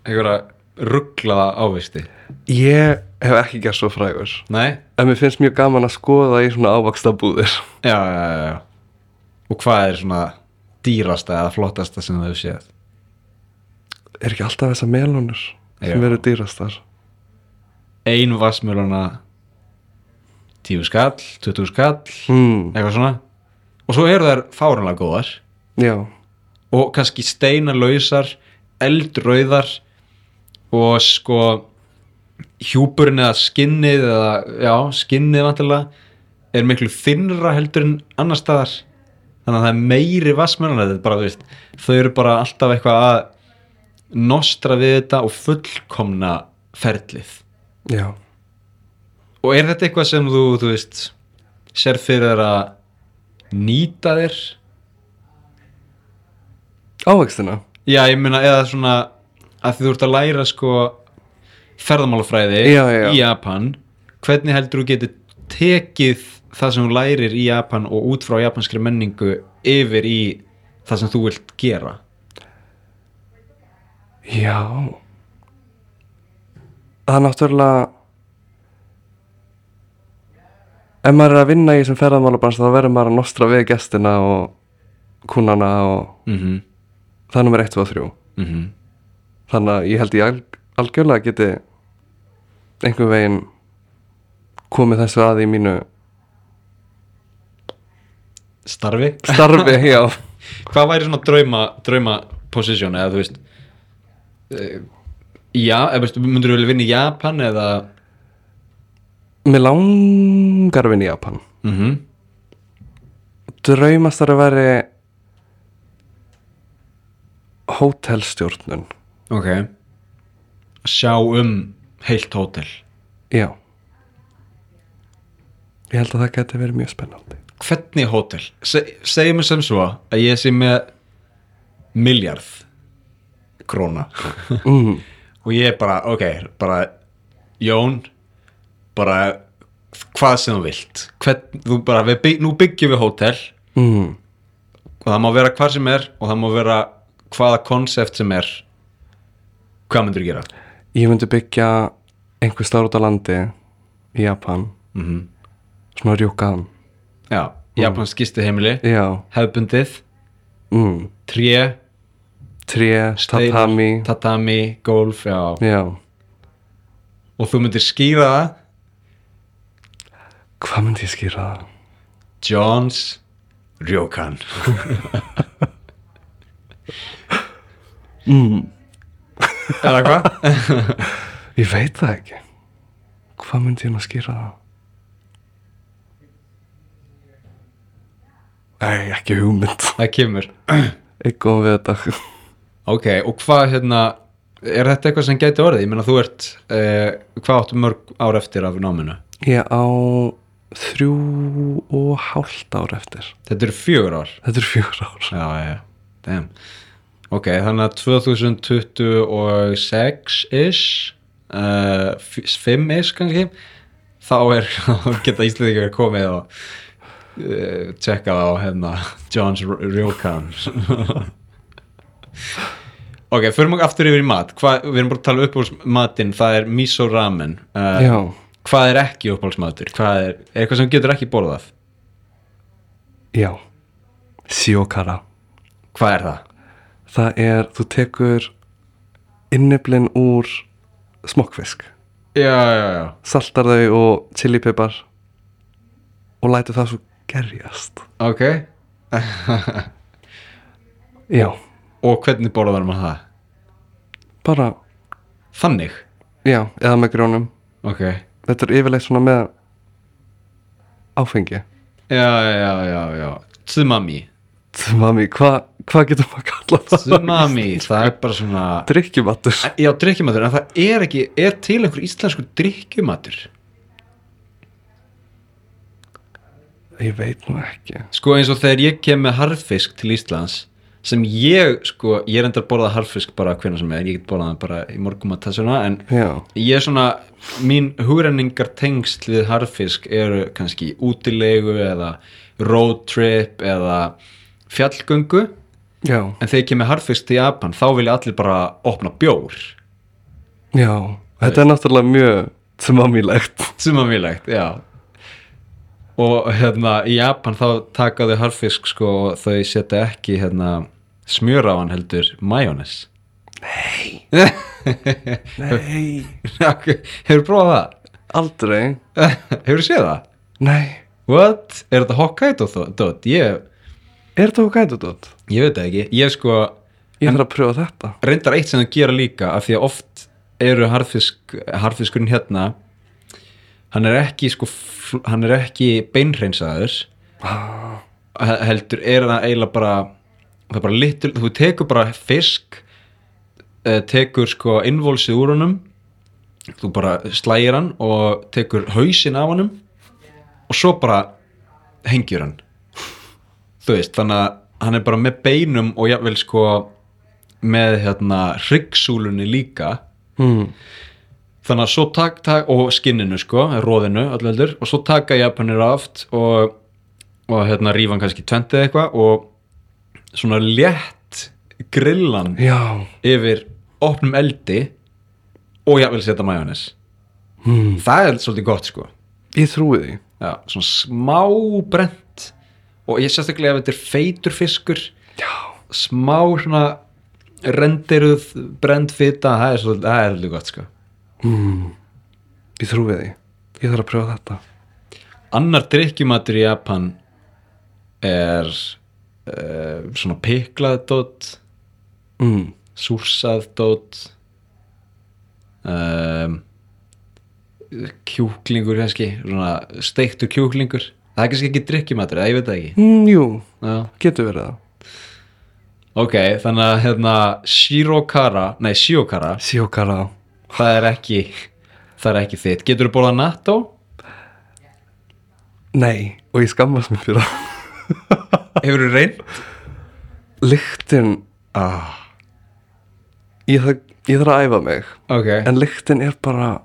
A: eitthvað rugglaða ávisti
B: Ég hef ekki gert svo frægur
A: nei,
B: En mér finnst mjög gaman að skoða í svona ávaksta búðir
A: já, já, já, já og hvað er svona dýrasta eða flottasta sem þau séð
B: Er ekki alltaf þessar melónur
A: Já.
B: sem eru dýrastar
A: ein vassmjöluna tíu skall, 20 skall
B: mm,
A: eitthvað svona og svo eru þær fáranlega góðar
B: Já,
A: og kannski steinalausar eldrauðar og sko hjúpurinn eða skinnið eða, já, skinnið vantilega er miklu þinnra heldur en annar staðar þannig að það er meiri vassmjöluna þetta er bara, þú veist, þau eru bara alltaf eitthvað að nostra við þetta og fullkomna ferlið
B: já
A: Og er þetta eitthvað sem þú, þú veist, sér fyrir þér að nýta þér?
B: Ávakstina
A: Já, ég meina, eða svona að því þú ert að læra sko ferðamálafræði
B: Já, já, já.
A: í Japan hvernig heldur þú getur tekið það sem þú lærir í Japan og út frá japanskri menningu yfir í það sem þú vilt gera?
B: Já Það er náttúrulega Ef maður er að vinna í þessum ferðamálabans þá verður maður að nostra við gestina og kúnana og
A: Mhm,
B: það er nummer 1 og 3
A: mhm,
B: þannig að ég held ég alg algjörlega geti einhver veginn komið þessu að í mínu
A: starfi?
B: starfi, já
A: Hvað væri svona drauma, drauma position eða þú veist eh, Já, eða veist, myndur þú vilja vinna í Japan eða
B: Mér langar að vinna í Japan
A: mhm
B: Draumastar að veri hótelstjórnun
A: Ok Að Sjá um heilt hótel
B: Já Ég held að það geti verið mjög spennandi
A: Hvernig hótel? Se, segjum við sem svo að ég sé með miljard króna
B: mm,
A: og ég er bara, ok, bara Jón, bara hvað sem þú vilt Hvern, þú bara, við, bygg, nú byggjum við hótel
B: mm,
A: og það má vera hvað sem er og það má vera hvaða konsept sem er hvað myndir þú gera?
B: Ég myndi byggja einhver staðar út á landi í Japan
A: Mm
B: svona rjúkaðan
A: Já, japansk gistiheimili
B: Já,
A: hefbundið,
B: mm,
A: tré
B: tré,
A: Steinar,
B: tatami
A: tatami, golf, já
B: Já,
A: og þú myndir skýra það
B: hvað myndi ég skýra það?
A: Johns Ryokan
B: Mm,
A: eða hvað?
B: ég veit það ekki Hvað myndi ég nú skýra það? Nei, ekki hugmynd
A: það kemur
B: Ekki góðum við þetta
A: ok, og hvað hérna er þetta eitthvað sem gæti orðið? ég meina þú ert eh, hvað áttu mörg ár eftir af náminu?
B: Ég á þrjú og hálft ár eftir.
A: þetta eru fjögur ár
B: Þetta er fjögur ár.
A: já, já, já, damn ok, þannig að 2026-ish uh, 5-ish kannski þá er, þá geta Íslandingar komið og uh, tjekka það á hérna Johns Ryokan ok, förum okkur aftur yfir í mat Hva, við erum bara að tala um uppáhaldsmatinn það er miso ramen
B: Já,
A: uh, hvað er ekki uppáhaldsmatur hvað er, er eitthvað sem þú getur ekki borðað
B: já. Sjókara.
A: hvað er það?
B: Það er, þú tekur inniblinn úr smokkfisk,
A: já, já, já
B: saltar þau og chilipipar og lætur það svo gerjast.
A: Ok
B: Já,
A: Og hvernig borðar maður það?
B: bara,
A: Þannig
B: já, eða með grjónum.
A: Ok Já,
B: Þetta er yfirleitt svona með áfengi.
A: já, já, já Tsumami
B: Mami, hvað hvað getum við að kalla það?
A: Tsunami, það er bara svona
B: Drykkjumattur.
A: Já, drikkjumatur, en það er ekki er til einhver íslenskur drikkjumatur
B: Ég veit nú ekki.
A: sko eins og þegar ég kem með harfisk til Íslands sem ég, sko, ég er enda að borða harfisk bara hvenna sem er, ég get borðað hann bara í morgum að þessuna, en
B: Já,
A: ég er svona, mín hugrenningar tengsl við harfisk eru kannski útilegu eða road trip eða fjallgöngu
B: já,
A: en þegar ég kemur harfisk til Japan þá vilja allir bara opna bjór
B: já. Þetta er náttúrulega mjög tsunami-legt.
A: sumamílegt, já og hérna í Japan þá taka þau harfisk sko og þau setja ekki hérna smjör á hann heldur majónes Nei
B: Nei.
A: Hefur prófað
B: Aldrei.
A: það? Hefur séð það?
B: Nei.
A: What? Er þetta Hokkaido þó? Dótt, Ég,
B: Er þetta okkur dótt?
A: ég veit það ekki Ég sko
B: Ég þarf að pröfa þetta.
A: reyndar eitt sem þau gera líka af því að oft eru harfisk harfiskurinn hérna hann er ekki sko fl- hann er ekki beinhreinsaður
B: Ah,
A: he- heldur er það eiginlega bara það er bara litur, þú tekur bara fisk eh, tekur sko innvolsið úr honum þú bara slægir hann og tekur hausinn af honum og svo bara hengjur hann þú veist, þannig að hann er bara með beinum og jafnvel sko með hérna hryggsúlunni líka
B: Mm.
A: þannig að svo tak, tak og skinninu sko, róðinu öllu heldur og svo taka japanir aft og, og hérna rífan kannski tventið eitthvað og svona létt grillan
B: Já.
A: yfir opnum eldi og jafnvel setja majónis
B: Mm.
A: það er svolítið gott sko
B: Ég trúi því.
A: Já, svona smá brent og ég sérstaklega ef þetta er feitur fiskur
B: Já.
A: smá svona rendiruð brent fita það er svolítið, það er svolítið gott sko
B: Mm. Ég trúi því. Ég þarf að pröfa þetta.
A: annar drikkjumatur í Japan er uh, svona piklað dót
B: Mm.
A: súrsað dót um, kjúklingur kannski svona steiktur kjúklingur það er kannski ekki drikkjumatur, eða ég veit það ekki
B: Mm, jú,
A: Já.
B: getur verið það.
A: ok, þannig að hérna shirokara, nei shiokara
B: Sjókara.
A: það er ekki það er ekki þitt, getur þú borðað natto?
B: Nei, og ég skammast mér fyrir það.
A: hefur þú reynd?
B: Lyktin,
A: Ah.
B: ég þarf, ég þarf að æfa mig.
A: ok,
B: En lyktin er bara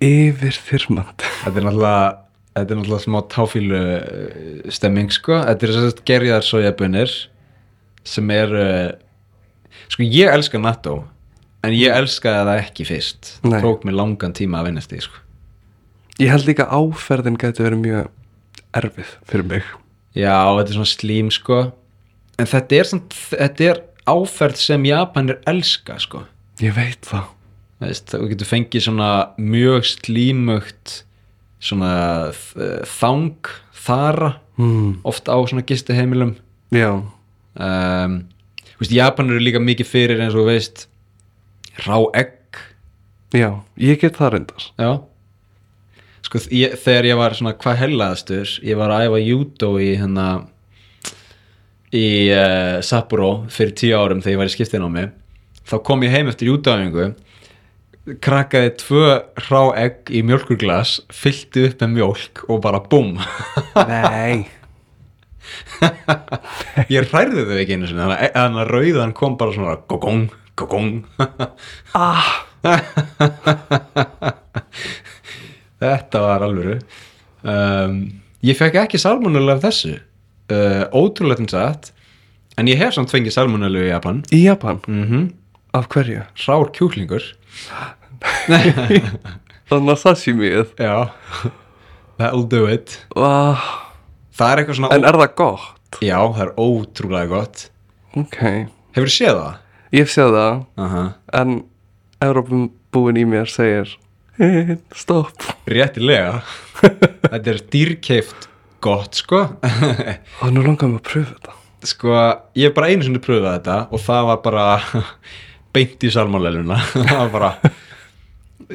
B: yfirþyrmandi.
A: Þetta er náttúrulega Þetta er náttúrulega smá táfílu eh, stemming sko, þetta er sérst gerjar sojabunir sem er uh, sko ég elska natto en ég elskaði það ekki fyrst
B: Nei.
A: tók mér langan tíma að vinnast því sko
B: Ég held líka áferðin gæti verið mjög erfið fyrir mig.
A: Já, þetta er svona slím sko en þetta er, samt, þetta er áferð sem Japanir elska sko
B: Ég veit það.
A: Þú veist, þú getur fengið svona mjög slímugt svona eh, þang þara
B: Mm.
A: oft á svona gistiheimilum
B: Já.
A: um, þú veist, Japan eru líka mikið fyrir eins og þú veist rá egg
B: Já, ég get það reyndar.
A: já sko, þ- ég, þegar ég var svona hvað hellaðastur ég var að æfa judo í hérna í uh, Sapporo fyrir tíu árum þegar ég var í skiptin á mig þá kom ég heim eftir judoæfingu krakkaði tvö rá egg í mjölkurglas fyllti upp með mjölk og bara búm
B: Nei.
A: ég ræði þau ekki einu sinni þannig að- e-, þannig að rauðan kom bara svona gogong, gogong
B: Ah.
A: Þetta var alvöru um, Ég fekk ekki salmonellu af þessu uh, Ótrúlega þins að En ég hef samt fengið salmonellu í Japan
B: Í Japan?
A: mm
B: Af hverju?
A: Rár kjúklingur
B: Þannig að sashimið.
A: Já That'll do it
B: Ah.
A: Það er eitthvað svona
B: En er það gott?
A: Já, það er ótrúlega gott
B: Ok.
A: Hefur séð það?
B: Ég hef séð það,
A: Uh
B: en Európum búin í mér segir Stopp.
A: Réttilega Þetta er dýrkeift gott sko
B: Og nú langar mig að pröfa þetta.
A: Sko, ég hef bara einu sinni pröfað þetta og það var bara beint í salmonelluna það var bara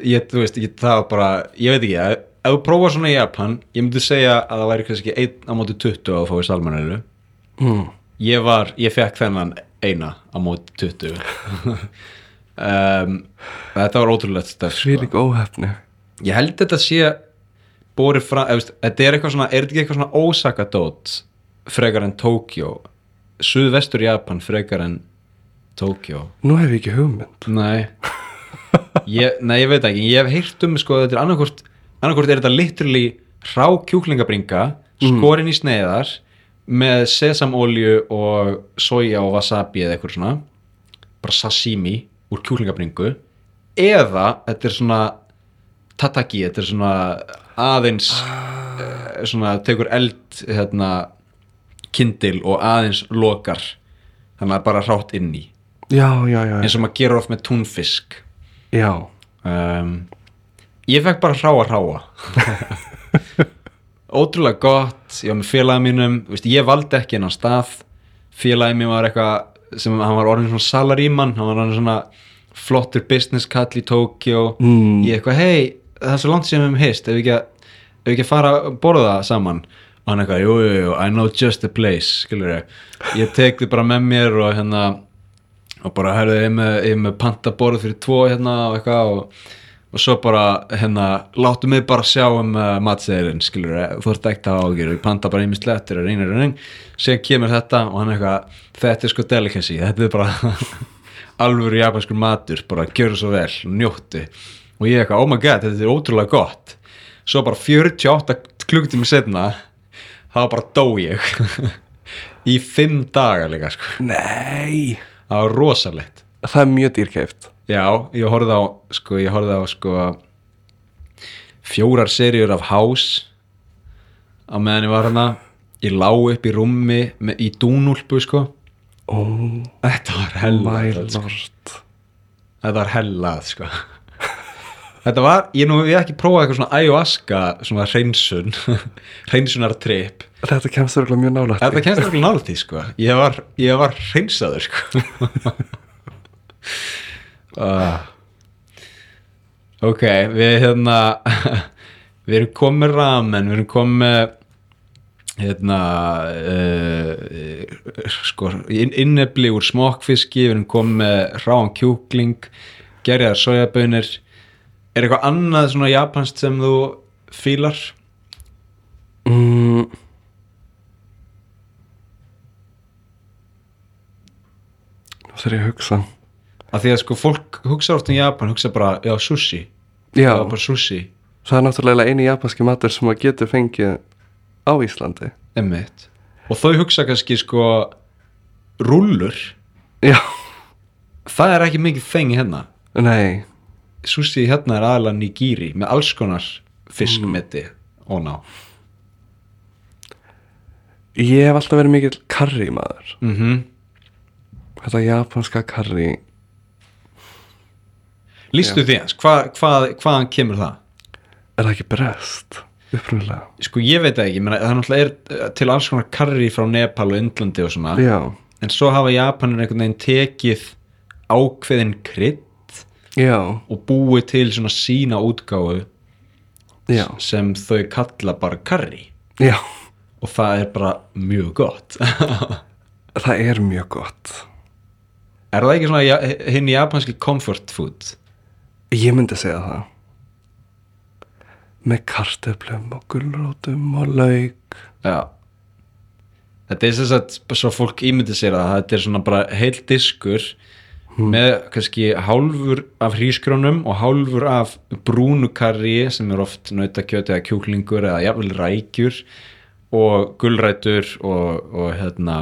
A: ég, þú veist, ég, það var bara, ég veit ekki ef ef þú prófar svona í Japan, ég myndi segja að það væri kannski 1 á móti 20 að þú fáið salmonellu
B: Mm.
A: ég var, ég fekk þennan eina á móti 20 um, þetta var ótrúlegt stöf,
B: Því líka óhefni
A: ég held þetta sé borið fram, eða, veist, þetta er eitthvað svona er þetta ekki eitthvað svona ósakadót frekar en Tókjó suðvestur Japan frekar en Tókjó
B: Nú hef ég ekki hugmynd
A: Nei ég, Nei, ég veit ekki, ég hef heyrt um sko, þetta er annarkvort, annarkvort er þetta literally hrá kjúklingabringa skorinn í sneiðar með sesamolju og soja og wasabi eða eitthvað svona bara sashimi úr kjúklingabringu eða þetta er svona tataki, þetta er svona aðeins eh, svona tekur eld hérna, kindil og aðeins lokar þannig að bara hrátt inn í
B: Já, já, já,
A: eins og maður gerur oft með túnfisk
B: já
A: um, ég fekk bara hráa hráa ótrúlega gott ég var með félagið mínum, veist, ég valdi ekki hennan stað félagið mín var eitthvað sem hann var orðin svona salaríman hann var orðin svona flottur business kall í Tókjó
B: Mm.
A: ég eitthvað, hei, það er svo langt sem við hefum hist ef við ekki, að- ef við ekki að fara að borða saman og hann eitthvað, jú, jú, jú, I know just the place skilur ég, ég tek þið bara með mér og hérna og bara herðu ég er með, ég er með pantaborð fyrir tvo hérna og eitthvað og, og svo bara hérna láttu mig bara sjá um uh, matseðirinn skilur þú ert ekkert að ágjur við panta bara einmitt lettur og reynir og reyn síðan kemur þetta og hann eitthvað þetta er sko delicacy, þetta er bara alvöru japanskur matur bara gjöru svo vel, njóttu og ég eitthvað, oh my god, þetta er ótrúlega gott svo bara 48 klukktími setna þá bara dó ég í fimm daga líka sko
B: Nei
A: það var rosalegt
B: Það er mjög dýrkæft
A: já, ég horfði á sko, ég horfði á sko fjórar seríur af House á meðan ég var hana ég lá upp í rúmi með, í dúnúlpu sko
B: Oh
A: þetta var
B: my
A: hellað sko.
B: lord
A: þetta var hellað sko þetta var, ég nú hef ég ekki prófað eitthvað svona ayahuasca, svona hreinsun hreinsunartrip
B: Þetta kemst þurfa mjög nálægt
A: þetta kemst ekki nála því sko ég var, ég var hreinsaður sko uh, ok, við hérna við erum komið með ramen við erum komið með hérna uh, sko inn- innefli úr smokkfiski, við erum komið með ráan kjúkling, gerjaðar sojabönir er eitthvað annað svona japanskt sem þú fílar?
B: mm, Nú þarf ég að hugsa
A: Af því að sko fólk hugsa oft um Japan, hugsa bara, já sushi
B: Já,
A: það var bara sushi,
B: það er náttúrulega eini japanski matur sem maður getur fengið á Íslandi
A: emmitt og þau hugsa kannski sko rúllur,
B: Já,
A: það er ekki mikið þeng hérna,
B: nei
A: sushi hérna er aðalega nigiri með alls konar
B: Mm.
A: fiskmeti og ná
B: Ég hef alltaf verið mikill karri maður
A: mm
B: Þetta japanska karri
A: lístu því hans, hva, hva, hvaðan kemur það?
B: Er það ekki brest? Upprunalega
A: Sko ég veit það ekki, menna, það náttúrulega er eh, til alls konar karri frá Nepal og Indlandi og svona
B: Já,
A: en svo hafa Japanir einhvern veginn tekið ákveðin krydd
B: já,
A: og búið til svona sína útgáfu
B: já,
A: sem þau kalla bara karri
B: já
A: og það er bara mjög gott er
B: Það er mjög gott
A: það ekki svona ja, hinn japanski comfort food
B: Ég myndi segja það Með kartöflum og gulrótum og lauk
A: já þetta er þess að svo fólk ímyndi sér að þetta er svona bara heil diskur með kannski hálfur af hrísgrónum og hálfur af brúnukarri sem er oft nautakjöti eða kjúklingur eða jafnvel rækjur og gulrætur og, og hérna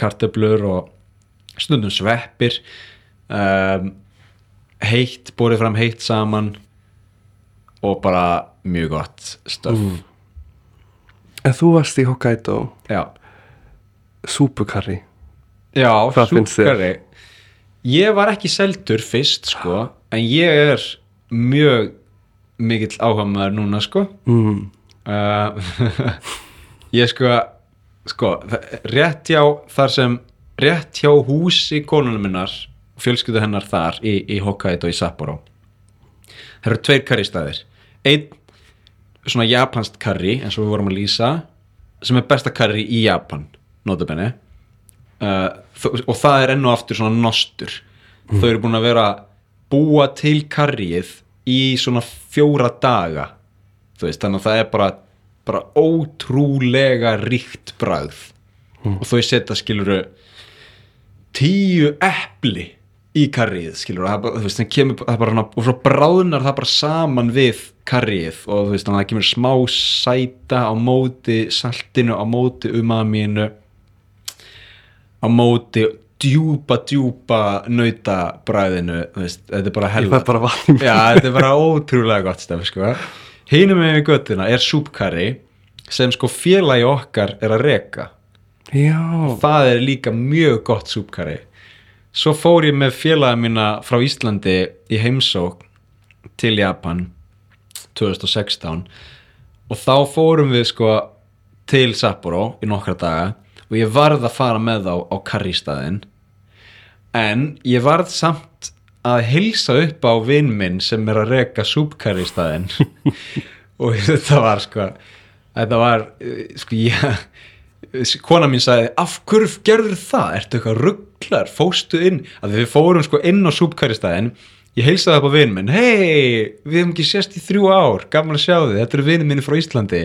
A: kartöflur og stundum sveppir um, heitt, borið fram heitt saman og bara mjög gott stöf
B: En þú varst í Hokkaido
A: já
B: Súpukarri
A: Já,
B: Hvað finnst þér?
A: súkkari Ég var ekki seldur fyrst sko en ég er mjög mikill áhamaður núna sko
B: mm.
A: uh, Ég sko sko, þa- rétt hjá þar sem, rétt hjá húsi konunum minnar, fjölskyldu hennar þar í, í Hokkaido í Sapporo Það eru tveir karristæðir Einn svona japanskt karri eins og við vorum að lýsa sem er besta karri í Japan notabene uh, þó- og það er enn og aftur svona nostur þau eru búin að vera búa til karrið í svona fjóra daga þú veist, þannig að það er bara, bara ótrúlega ríkt bragð og þau setja skiluru tíu epli í karrið skilur það, er bara- þú veist, það kemur það er bara, hana, og svo bráðnar það bara saman við karrið og þú veist þannig að það kemur smá sæta á móti saltinu, á móti umaminu á móti djúpa djúpa nautabræðinu þú veist, þetta er bara
B: Ég
A: helvita
B: fæ bara vatn í mig.
A: Já, þetta er bara ótrúlega gott stef sko. Hínum með göttina er súpkarri sem sko félagi okkar er að reka
B: Já,
A: það er líka mjög gott súpkari svo fór ég með félaga mína frá Íslandi í heimsók til Japan 2016 og þá fórum við sko til Sapporo í nokkra daga og ég varð að fara með þá á karristaðin en ég varð samt að hilsa upp á vinn minn sem er að reka súpkarristaðin og þetta var sko þetta var eh, sko ég kona mín sagði af hverju gerður það, ertu eitthvað rugglar fóstu inn, að við fórum sko inn á súpkaristæðin, ég heilsaði upp á vinn minn, hei, við hefum ekki sést í þrjú ár, gaman að sjá þið, þetta eru vinn minni frá Íslandi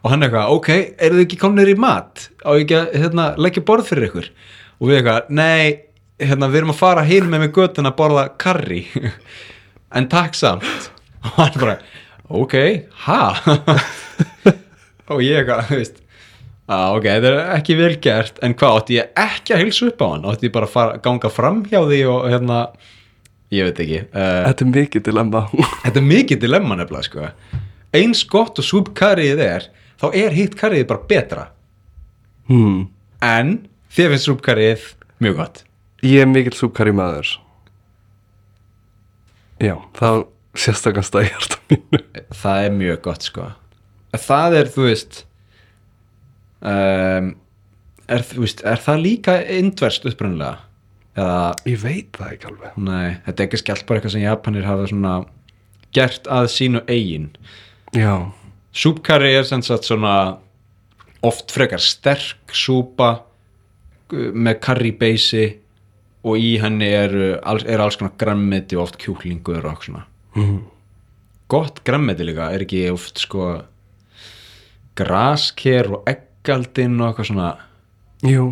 A: og hann eitthvað, ok, eru þið ekki komnir í mat á ég ekki að hérna, leggja borð fyrir ykkur og við eitthvað, nei hérna, við erum að fara hinn með mig göttin að borða karri en takk samt og hann bara, ok, ha og ég eitthvað, þú veist að ok, þetta er ekki vel gert en hvað, átti ég ekki að hilsa upp á hann átti ég bara að fara, ganga fram hjá því og hérna, ég veit ekki uh,
B: þetta er mikið dilemma.
A: þetta er mikið dilemma nefnilega sko eins gott og súpkarriðið er þá er hitt karriðið bara betra
B: hmm.
A: en þér finnst súpkarriðið mjög gott
B: Ég er mikill súkari maður. Já, þá sérstakast að hjarta mínu.
A: það er mjög gott sko það er þú veist um, er, þú veist er það líka indverst upprunnilega eða
B: Ég veit það ekki alveg.
A: nei, þetta er ekki skellt bara eitthvað sem Japanir hafa svona gert að sínu eigin
B: Já,
A: súpkari er sem sagt svona oft frekar sterk súpa uh, með curry beisi og í henni eru alls, er alls konar grammeti og oft kjúklingur og okkur svona
B: Mhm.
A: gott grammeti líka er ekki oft sko grasker og eggaldin og eitthvað svona
B: jú,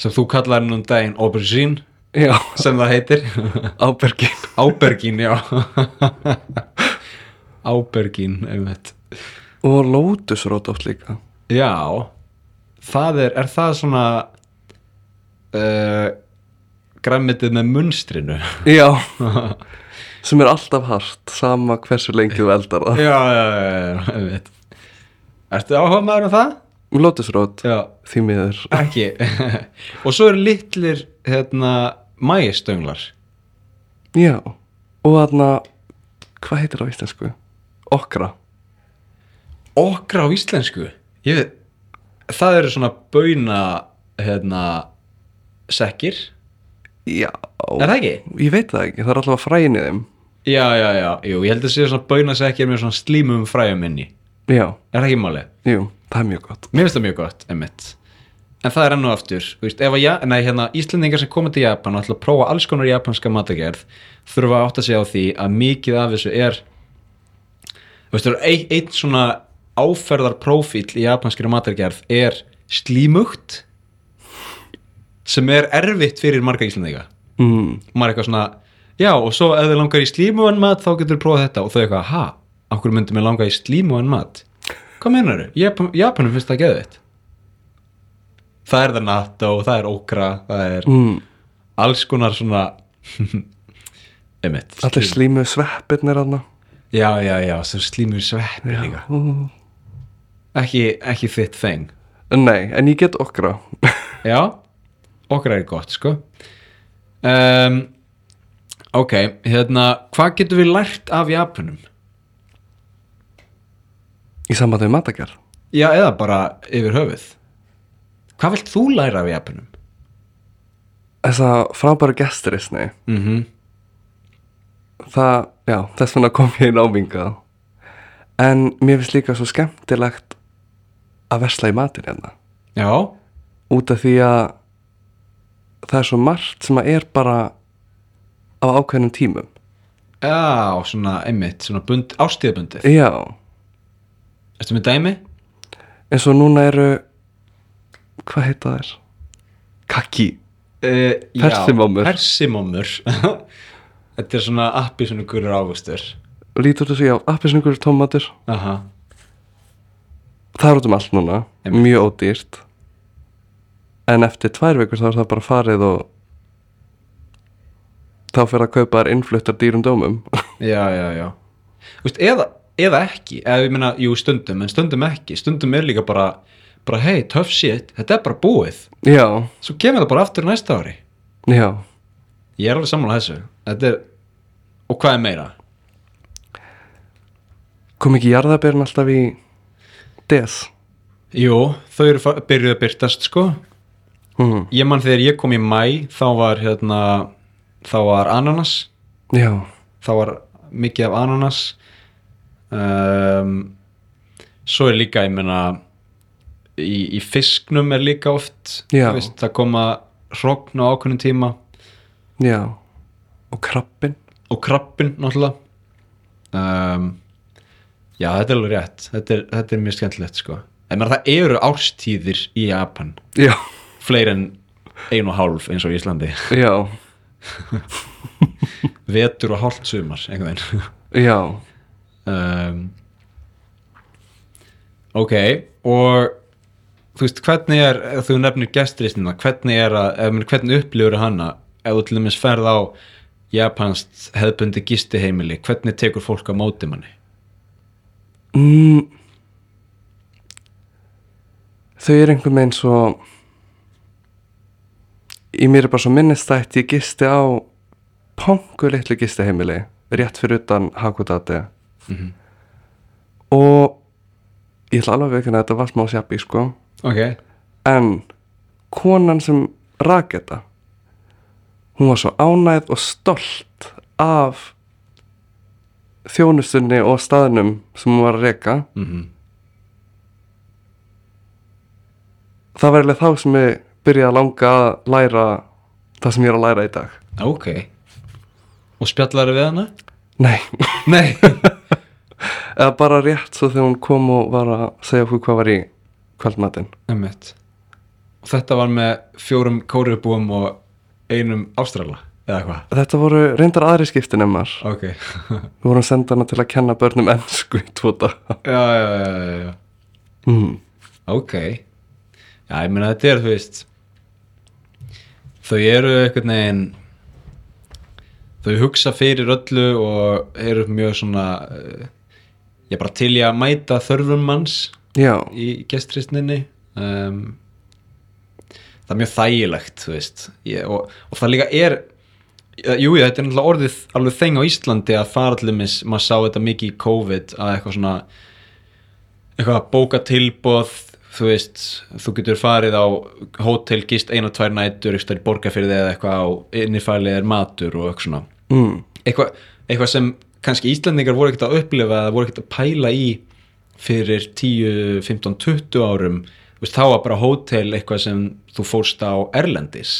A: sem þú kallar hann um daginn aubergine
B: já,
A: sem það heitir
B: ábergin.
A: Ábergín, já Ábergín, einmitt
B: Og lótusrót oft líka.
A: Já, það er, er það svona uh, græmitið með munstrinu
B: Já, sem er alltaf hart, sama hversu lengi þú eldar
A: Já,
B: það.
A: já, já, já, einmitt Ertu áhuga maður um það?
B: Lótusrót,
A: Já,
B: því miður.
A: ekki Og svo eru litlir, hérna, mægistönglar
B: Já, og þarna, hvað heitir það á íslensku? Okra.
A: Okra á íslensku Ég veit, það eru svona bauna, hérna, sekkir
B: Já,
A: Er það ekki?
B: ég veit það ekki, það er alltaf fræin í þeim.
A: Já, já, já, jú, ég held að sé svona baunasekkir með svona slímum fræjum inni
B: Já,
A: Er það ekki málið?
B: jú, það er mjög gott.
A: Mér finnst það mjög gott, emitt En það er enn og aftur, þú veist, ef að ja, nei, hérna, Íslendingar sem koma til Japan og ætla að prófa alls konar japanska matagerð þurfa að átta sig á því að mikið af þessu er þú veist, það er ein, einn svona áferðar prófíl í japanskri matagerð er slímugt sem er erfitt fyrir marga Íslendinga
B: Mm.
A: maður eitthvað svona já og svo ef þið langar í slímuan mat þá getur þið prófað þetta og þau eitthvað ha, okkur myndum við langa í slímuan mat hvað meinar þau? Japan, Japanum finnst það geðið það er það natto, það er okra það er
B: Mm.
A: alls konar svona emitt
B: Allir slímu sveppirnir þarna.
A: já já já, sem slímur sveppi líka
B: Mm.
A: ekki, ekki þitt þeng
B: Nei, en ég get okra.
A: Já, okkur er gott sko um, Ok, hérna hvað getum við lært af Japanum?
B: í sambandi við matakar.
A: Já, eða bara yfir höfuð Hvað vilt þú læra af Japanum?
B: Þess að frábæra gesturisni,
A: Mm -hmm.
B: það, já, þess vegna kom ég inn ámingað. En mér finnst líka svo skemmtilegt að versla í matin hérna.
A: Já,
B: Út af því að það er svo margt sem að er bara á ákveðnum tímum
A: Já, svona einmitt, svona bund, ástíðabundið
B: já,
A: Ertu með dæmi?
B: eins og núna eru hvað heita þær? kaki,
A: Uh,
B: Persimómur.
A: Persimómur Þetta er svona appi svona gulur águstur
B: lítur þessu, já, appisningur tómatur,
A: Aha.
B: það er út um allt núna
A: Einmitt.
B: mjög ódýrt en eftir tvær vikur þá er það bara farið og þá fyrir að kaupa þær innfluttar dýrum dómum
A: Já, já, já Vist, eða, eða ekki, eða ég meina, jú stundum en stundum ekki, stundum er líka bara bara hei, tough shit, þetta er bara búið
B: já,
A: Svo kemur það bara aftur næsta ári
B: já
A: Ég er alveg sammála þessu Þetta er, og hvað er meira?
B: kom ekki jarðabérn alltaf í des
A: Jú, þau eru fa- byrjuð að byrtast sko
B: mm.
A: Ég man þegar ég kom í mæ þá var hérna þá var ananas
B: já,
A: þá var mikið af ananas um, svo er líka ég meina í, í fisknum er líka oft
B: Já.
A: þú veist, það koma hrogn á ákveðnum tíma
B: já og krabbin
A: og krabbin náttúrulega um, já þetta er alveg rétt þetta er, þetta er mjög skemmtilegt sko en maður, það eru árstíðir í Japan
B: já,
A: fleiri en ein og hálf eins og í Íslandi
B: já,
A: vetur og hálft sumar einhvern veginn
B: já
A: um, ok og þú veist hvernig er ef þú nefnir gestristina hvernig er að, ef, mér- hvernig upplifur hana ef þú til dæmis ferð á japanst hefðbundi gistiheimili hvernig tekur fólk á móti manni
B: mm. þau eru einhvern veginn svo í mér er bara svo minnistætt ég gisti á pongu litlu gistiheimili rétt fyrir utan Hakodate og ég ætla alveg ekki að þetta var smá sjabbi sko
A: ok,
B: en konan sem rak þetta hún var svo ánægð og stolt af þjónustunni og staðnum sem hún var að reka
A: mm
B: það var eiginlega þá sem ég byrjaði að langa að læra það sem ég er að læra í dag
A: ok og spjallar við hana?
B: nei,
A: nei,
B: eða bara rétt svo þegar hún kom og var að segja okkur hvað var í kvöldmatinn
A: emmitt og þetta var með fjórum kórubúum og einum ástrala eða hvað?
B: þetta voru reyndar aðri skiptin emmar
A: ok,
B: við vorum senda hana til að kenna börnum ennsku í tvo dag
A: já, já, já, já, já.
B: mm.
A: Ok Já, ég meina þetta er, þú veist Þau eru einhvern veginn Þau hugsa fyrir öllu og eru mjög svona eh, Ég er bara til í að mæta þörfum manns
B: já,
A: í gestristninni um, Það er mjög þægilegt, þú veist ég, og, og það líka er eh, Jú, jú, þetta er náttúrulega orðið alveg þeng á Íslandi að fara allir mis, maður sá þetta mikið í COVID að eitthvað svona eitthvað að bóka tilbóð þú veist, þú getur farið á hótel, gist eina, tvær nætur eitthvað í borgarfyrði eða eitthvað á innifælið er matur og eitthvað svona
B: mm.
A: eitthvað, eitthvað sem kannski Íslandingar voru ekkert að upplifa eða voru ekkert að pæla í fyrir 10, 15, 20 árum Þú veist, þá var bara hótel eitthvað sem þú fórst á Erlendis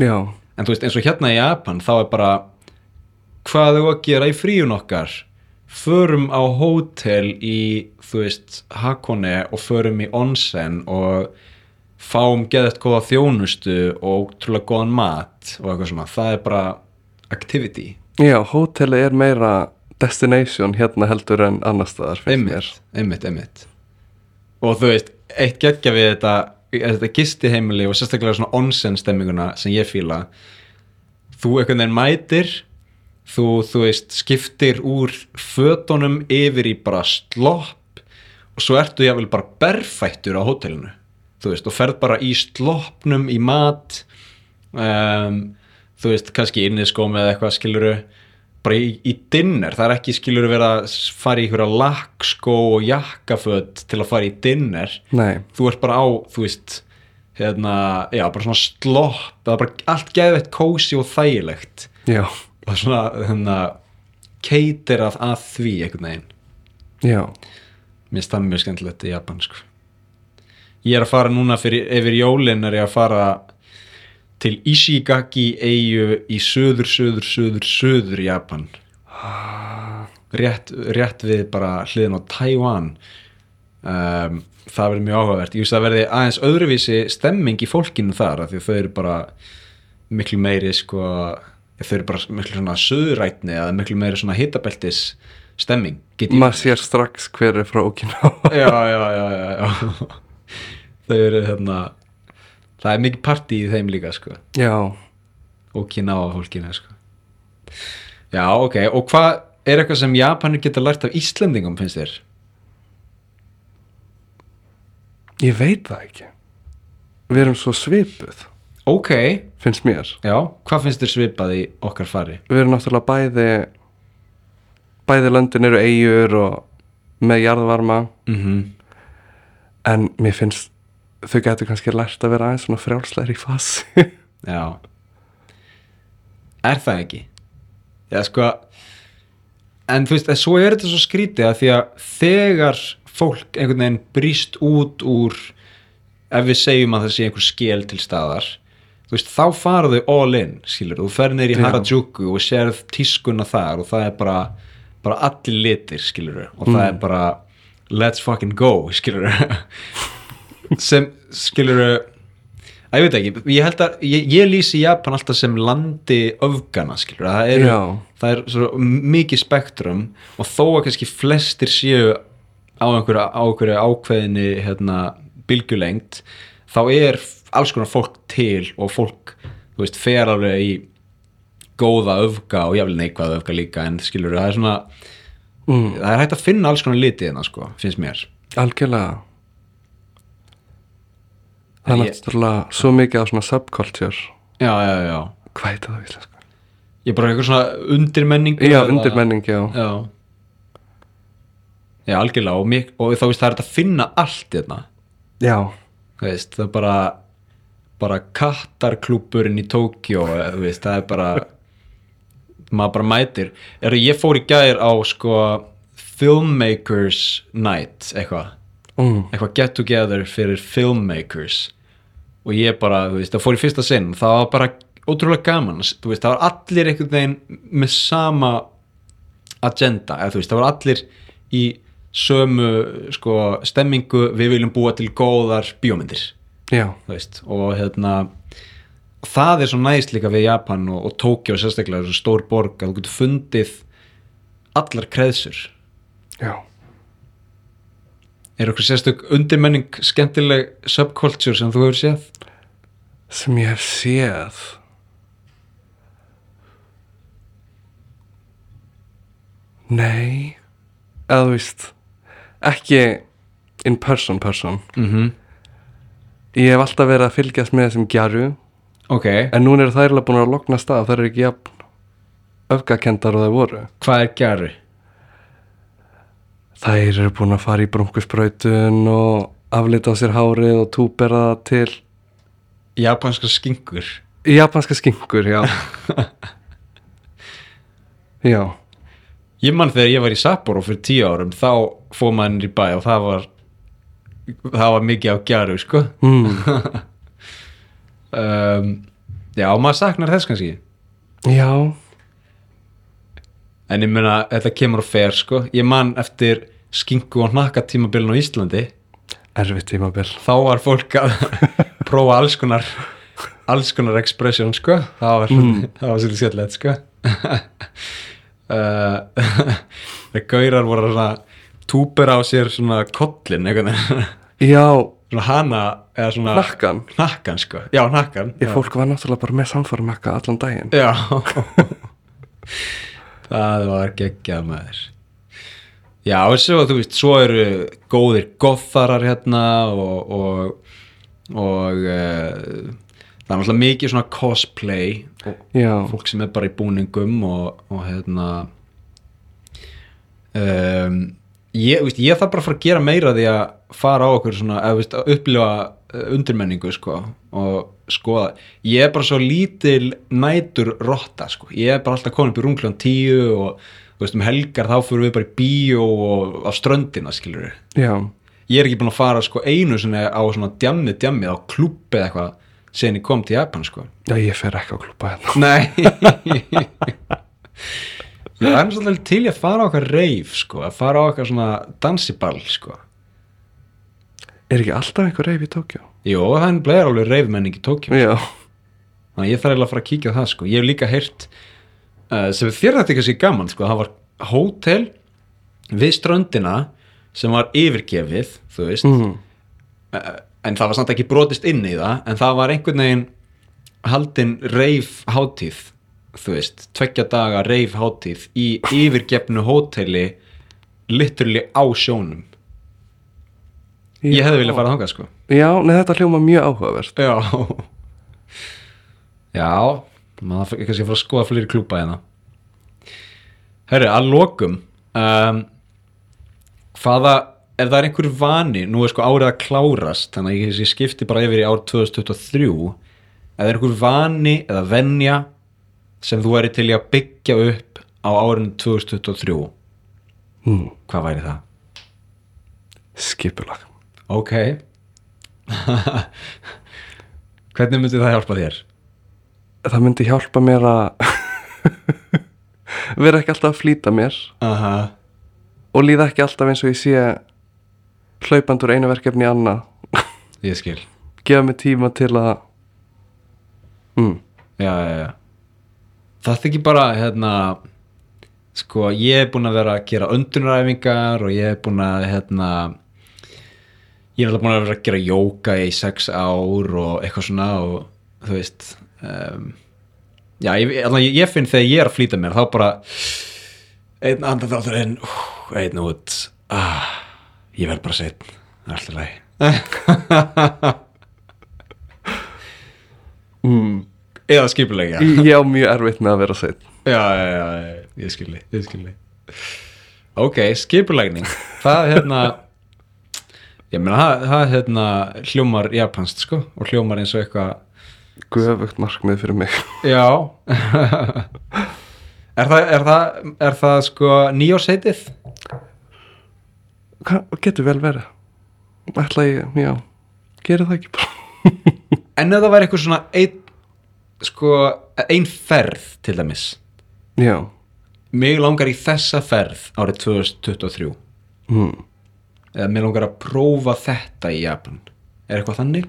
B: já,
A: en þú veist eins og hérna í Japan þá er bara hvað þau að gera í fríun okkar förum á hótel í þú veist Hakone og förum í onsen og fáum geðast góða þjónustu og trúlega góðan mat og eitthvað svona, það er bara activity,
B: já hóteli er meira destination hérna heldur en annar staðar finnst mér.
A: einmitt, einmitt, einmitt og þú veist, eitt geggja við þetta, þetta gistiheimili og sérstaklega svona onsen stemminguna sem ég fíla þú einhvern veginn mætir þú, þú veist, skiptir úr fötunum yfir í bara slopp og svo ertu jáfnvel bara berfættur á hótelinu þú veist, og ferð bara í sloppnum í mat um, þú veist, kannski inniskóm eða eitthvað skiluru bara í, í dinner, það er ekki skiluru vera að s- fara í einhverja lakkskó og jakkaföt til að fara í dinner
B: nei,
A: þú ert bara á, þú veist hérna, já, bara svona slopp það er bara allt geðveitt kósi og þægilegt
B: já,
A: og svona, hérna keiterað að því einhvern veginn
B: já
A: Mér finnst það mjög skemmtilegt í Japan sko. Ég er að fara núna fyrir, yfir jólin er ég að fara til Ishigaki eigu í söður, söður, söður, söður Japan rétt, rétt við bara hliðin á Taiwan um, það verður mjög áhugavert ég veist að það verði aðeins öðruvísi stemming í fólkinu þar af því að þau eru bara miklu meiri sko þau eru bara miklu svona söðurætni eða miklu meiri svona hitabeltis stemming get ég
B: maður sér strax hver er frá Okinawa
A: já, já, já, já, já. þau eru hérna það er mikið partí í þeim líka sko
B: já,
A: og kynnaða fólkinu sko. já, ok, og hvað er eitthvað sem Japanir geta lært af Íslendingum finnst þér?
B: ég veit það ekki við erum svo svipuð
A: ok,
B: finnst mér
A: já, hvað finnst þér svipað í okkar fari?
B: við erum náttúrulega bæði bæði löndin eru eigur og með jarðvarma
A: Mm
B: en mér finnst þau getur kannski lært að vera aðeins svona frjálsleir í fasi
A: Já Er það ekki? Já sko En þú veist, en svo er þetta svo skrítið að því að þegar fólk einhvern veginn brýst út úr ef við segjum að það sé einhver skél til staðar þú veist, þá fara þau all in skilur, þú fer neyri í
B: Já.
A: Harajuku og sérð tískuna þar og það er bara bara allir litir, skilur og það er bara let's fucking go, skilur sem, skilur Æ, ég veit ekki, ég held að ég, ég lýsi Japan alltaf sem landi öfgana skilur, það er,
B: Já.
A: það er svo mikið spektrum og þó að kannski flestir séu á einhverju, á einhverju ákveðinni hérna, bylgjulengd þá er alls konar fólk til og fólk, þú veist, fer alveg í góða öfga og jafnvel neikvæða öfga líka en skilur, það er svona
B: mm,
A: það er hægt að finna alls konar litið hérna, sko, finnst mér
B: algjörlega það er
A: En ég-
B: náttúrulega svo mikið á svona subculture
A: Já, já, já,
B: hvað heitir það á íslensku?
A: ég er bara eitthvað svona undirmenning
B: já,
A: eða-
B: undirmenning, já
A: Já Já, algjörlega og, mik- og þá veist það er hægt að finna allt hérna
B: já,
A: Þú veist, það er bara bara kattarklúburinn í Tókjó eða, þú veist, það er bara maður bara mætir er, ég fór í gær á sko filmmakers night eitthvað
B: mm,
A: eitthvað get together fyrir filmmakers og ég bara, þú veist, það fór í fyrsta sinn það var bara ótrúlega gaman þú veist, það var allir einhvern veginn með sama agenda eða þú veist, það var allir í sömu, sko, stemmingu við viljum búa til góðar bíómyndir
B: já,
A: þú veist, og hérna það er svo næst líka við Japan og, og Tókjó sérstaklega, þessu stór borg að þú getur fundið allar kreðsur
B: já
A: Er okkur sérstök undirmenning skemmtileg subculture sem þú hefur séð?
B: sem ég hef séð nei eða þú veist ekki in person person
A: Mm -hmm.
B: ég hef alltaf verið að fylgjast með þessum gjaru
A: Ok,
B: en núna eru þær alveg búin að lokna stað þær eru ekki jafn öfgakendar og þær voru
A: hvað er gæru?
B: þær eru búin að fara í brunkusbrautun og aflita á sér hárið og túbera það til
A: Japanskar skingur
B: japanska skinkur, já já,
A: Ég man þegar ég var í Sapporo fyrir tíu árum þá fór maður niður í bæ og það var það var mikið á gæru sko
B: mm.
A: um, Já, maður saknar þess kannski
B: já
A: en ég meina þetta kemur og fer sko ég man eftir skingu og hnakka tímabilin á Íslandi
B: erfitt tímabil
A: þá var fólk að prófa alls konar alls konar expression sko það var, það var svolítið skemmtilegt sko uh, þegar gaurar voru að svona túpera á sér svona kollin einhvern veginn
B: já,
A: svona hana eða svona
B: nakkan
A: hnakkan sko já hnakkan
B: ég fólk var náttúrulega bara með samfarmakka allan daginn
A: já það var geggjað maður Já, og svo, þú veist, svo eru góðir goffarar hérna og, og, og uh, það er náttúrulega mikið svona cosplay og
B: já,
A: fólk sem er bara í búningum og, og hérna um, ég, þú veist, ég þarf bara að fara að gera meira því að fara á okkur svona, eða, þú veist, að upplifa eh, undirmenningu sko og skoða, ég er bara svo lítil nætur rotta sko ég er bara alltaf komin upp í rungljón tíu og þú veist, um helgar þá fyrir við bara í bíó og á ströndina skilur við
B: já,
A: ég er ekki búin að fara sko einu sinni á svona djammið djammið á klúbbi eða eitthvað sen ég kom til Japan sko
B: Já, ég fer ekki á klúpa hérna.
A: Nei Já, það er svolítið til í að fara á okkar reif sko, að fara á okkar svona dansiball sko
B: Er ekki alltaf einhver reyf í Tókjó?
A: Jó, það er blegar alveg reifmenning í Tókjum
B: Já.
A: Þannig að ég þarf eiginlega að fara að kíkja á það sko Ég hef líka heyrt uh, sem þér þetta kannski gaman sko það var hótel við ströndina sem var yfirgefið þú veist
B: Mm.
A: uh, en það var samt ekki brotist inn í það en það var einhvern veginn haldin reif hátíð þú veist, tvekja daga reif hátíð í yfirgefnu hóteli literally á sjónum ég hefði viljað fara þangað sko
B: Já, nei, þetta hljóma mjög áhugavert.
A: já já maður fyrir kannski að fara að skoða fleiri klúpa hérna herri, að lokum um, hvaða ef það er einhver vani, nú er sko árið að klárast þannig að ég, ég skipti bara yfir í ár 2023 ef það er einhver vani eða venja sem þú væri til í að byggja upp á árinu 2023
B: Mm.
A: hvað væri það?
B: Skipulag.
A: ok hvernig myndi það hjálpa þér?
B: Það myndi hjálpa mér að vera ekki alltaf að flýta mér
A: aha
B: og líða ekki alltaf eins og ég sé hlaupandur einu verkefni í annað.
A: Ég skil
B: Gefa mér tíma til að... Mm.
A: já, já, já. Það er ekki bara hérna, sko, ég er búin að vera að gera öndunaræfingar og ég er búin að hérna, ég er alltaf búin að vera að gera jóka í sex ár og eitthvað svona og þú veist um, já, ég, allan, ég, ég finn þegar ég er að flýta mér þá bara einn andan þáttur inn ú, einn út ah, ég verð bara setn alltaf læg
B: Mm.
A: eða skipulegja
B: Ég ég á mjög erfitt með að vera sveit.
A: já, já, já, já, ég skilji, ég skilji ok, skipulægning það hérna ég meina, það, það hérna hljómar japanst, sko, og hljómar eins og eitthvað
B: Guðvögt markmið fyrir mig.
A: já er það, er það er það sko nýjóseitið
B: Hvað getur vel verið? Ætla ég, já, gera það ekki bara.
A: en ef það væri eitthvað svona ein, sko, ein ferð til dæmis,
B: Já.
A: mig langar í þessa ferð árið 2023
B: Mm.
A: eða mig langar að prófa þetta í Japan er eitthvað þannig?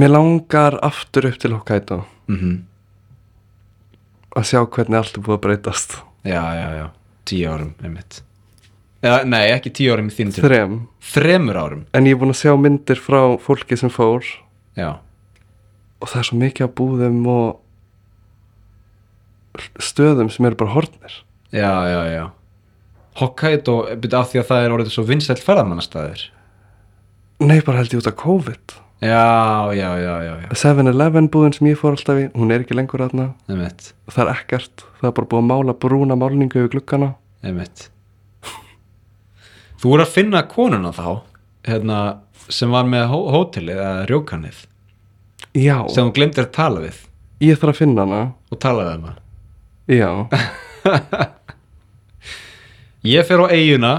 B: Mér langar aftur upp til Hokkaido
A: mhm
B: að sjá hvernig allt er búið að breytast.
A: Já, já, já, tíu árum einmitt. Eða, nei, ekki tíu árum í þínum til
B: Þrem.
A: Þremur árum
B: En ég er búin að sjá myndir frá fólki sem fór
A: Já,
B: og það er svo mikið að búðum og stöðum sem eru bara hornir.
A: já, já, já Hokkaido, byrja af því að það er orðið svo vinsælt ferðamannastæðir
B: Nei, bara held ég út af COVID.
A: Já, já, já, já, já,
B: 7-Eleven búðin sem ég fór alltaf í, hún er ekki lengur aðna.
A: einmitt,
B: Það er ekkert. Það er bara búið að mála brúna málningu yfir gluggana.
A: einmitt Þú voru að finna konuna þá hérna, sem var með hó hótelið eða rjókanið,
B: Já.
A: sem þú glemdir að tala við
B: Ég þarf að finna hana.
A: og talaði um hana
B: Já.
A: Ég fer á eiguna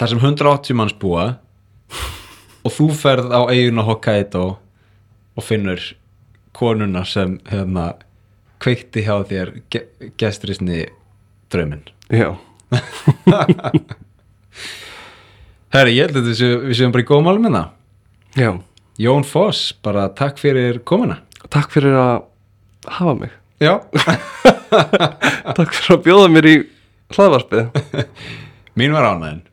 A: þar sem 180 manns búa og þú ferð á eiguna Hokkaido og finnur konuna sem hérna kveikti hjá þér ge gestrisni drauminn.
B: Já,
A: Herri, ég held að þessu, við séum bara í góðum álum hérna.
B: já.
A: Jón Foss, bara takk fyrir komuna.
B: Takk fyrir að hafa mig.
A: Já.
B: Takk fyrir að bjóða mér í hlaðvarpið.
A: Mín var ánæðin.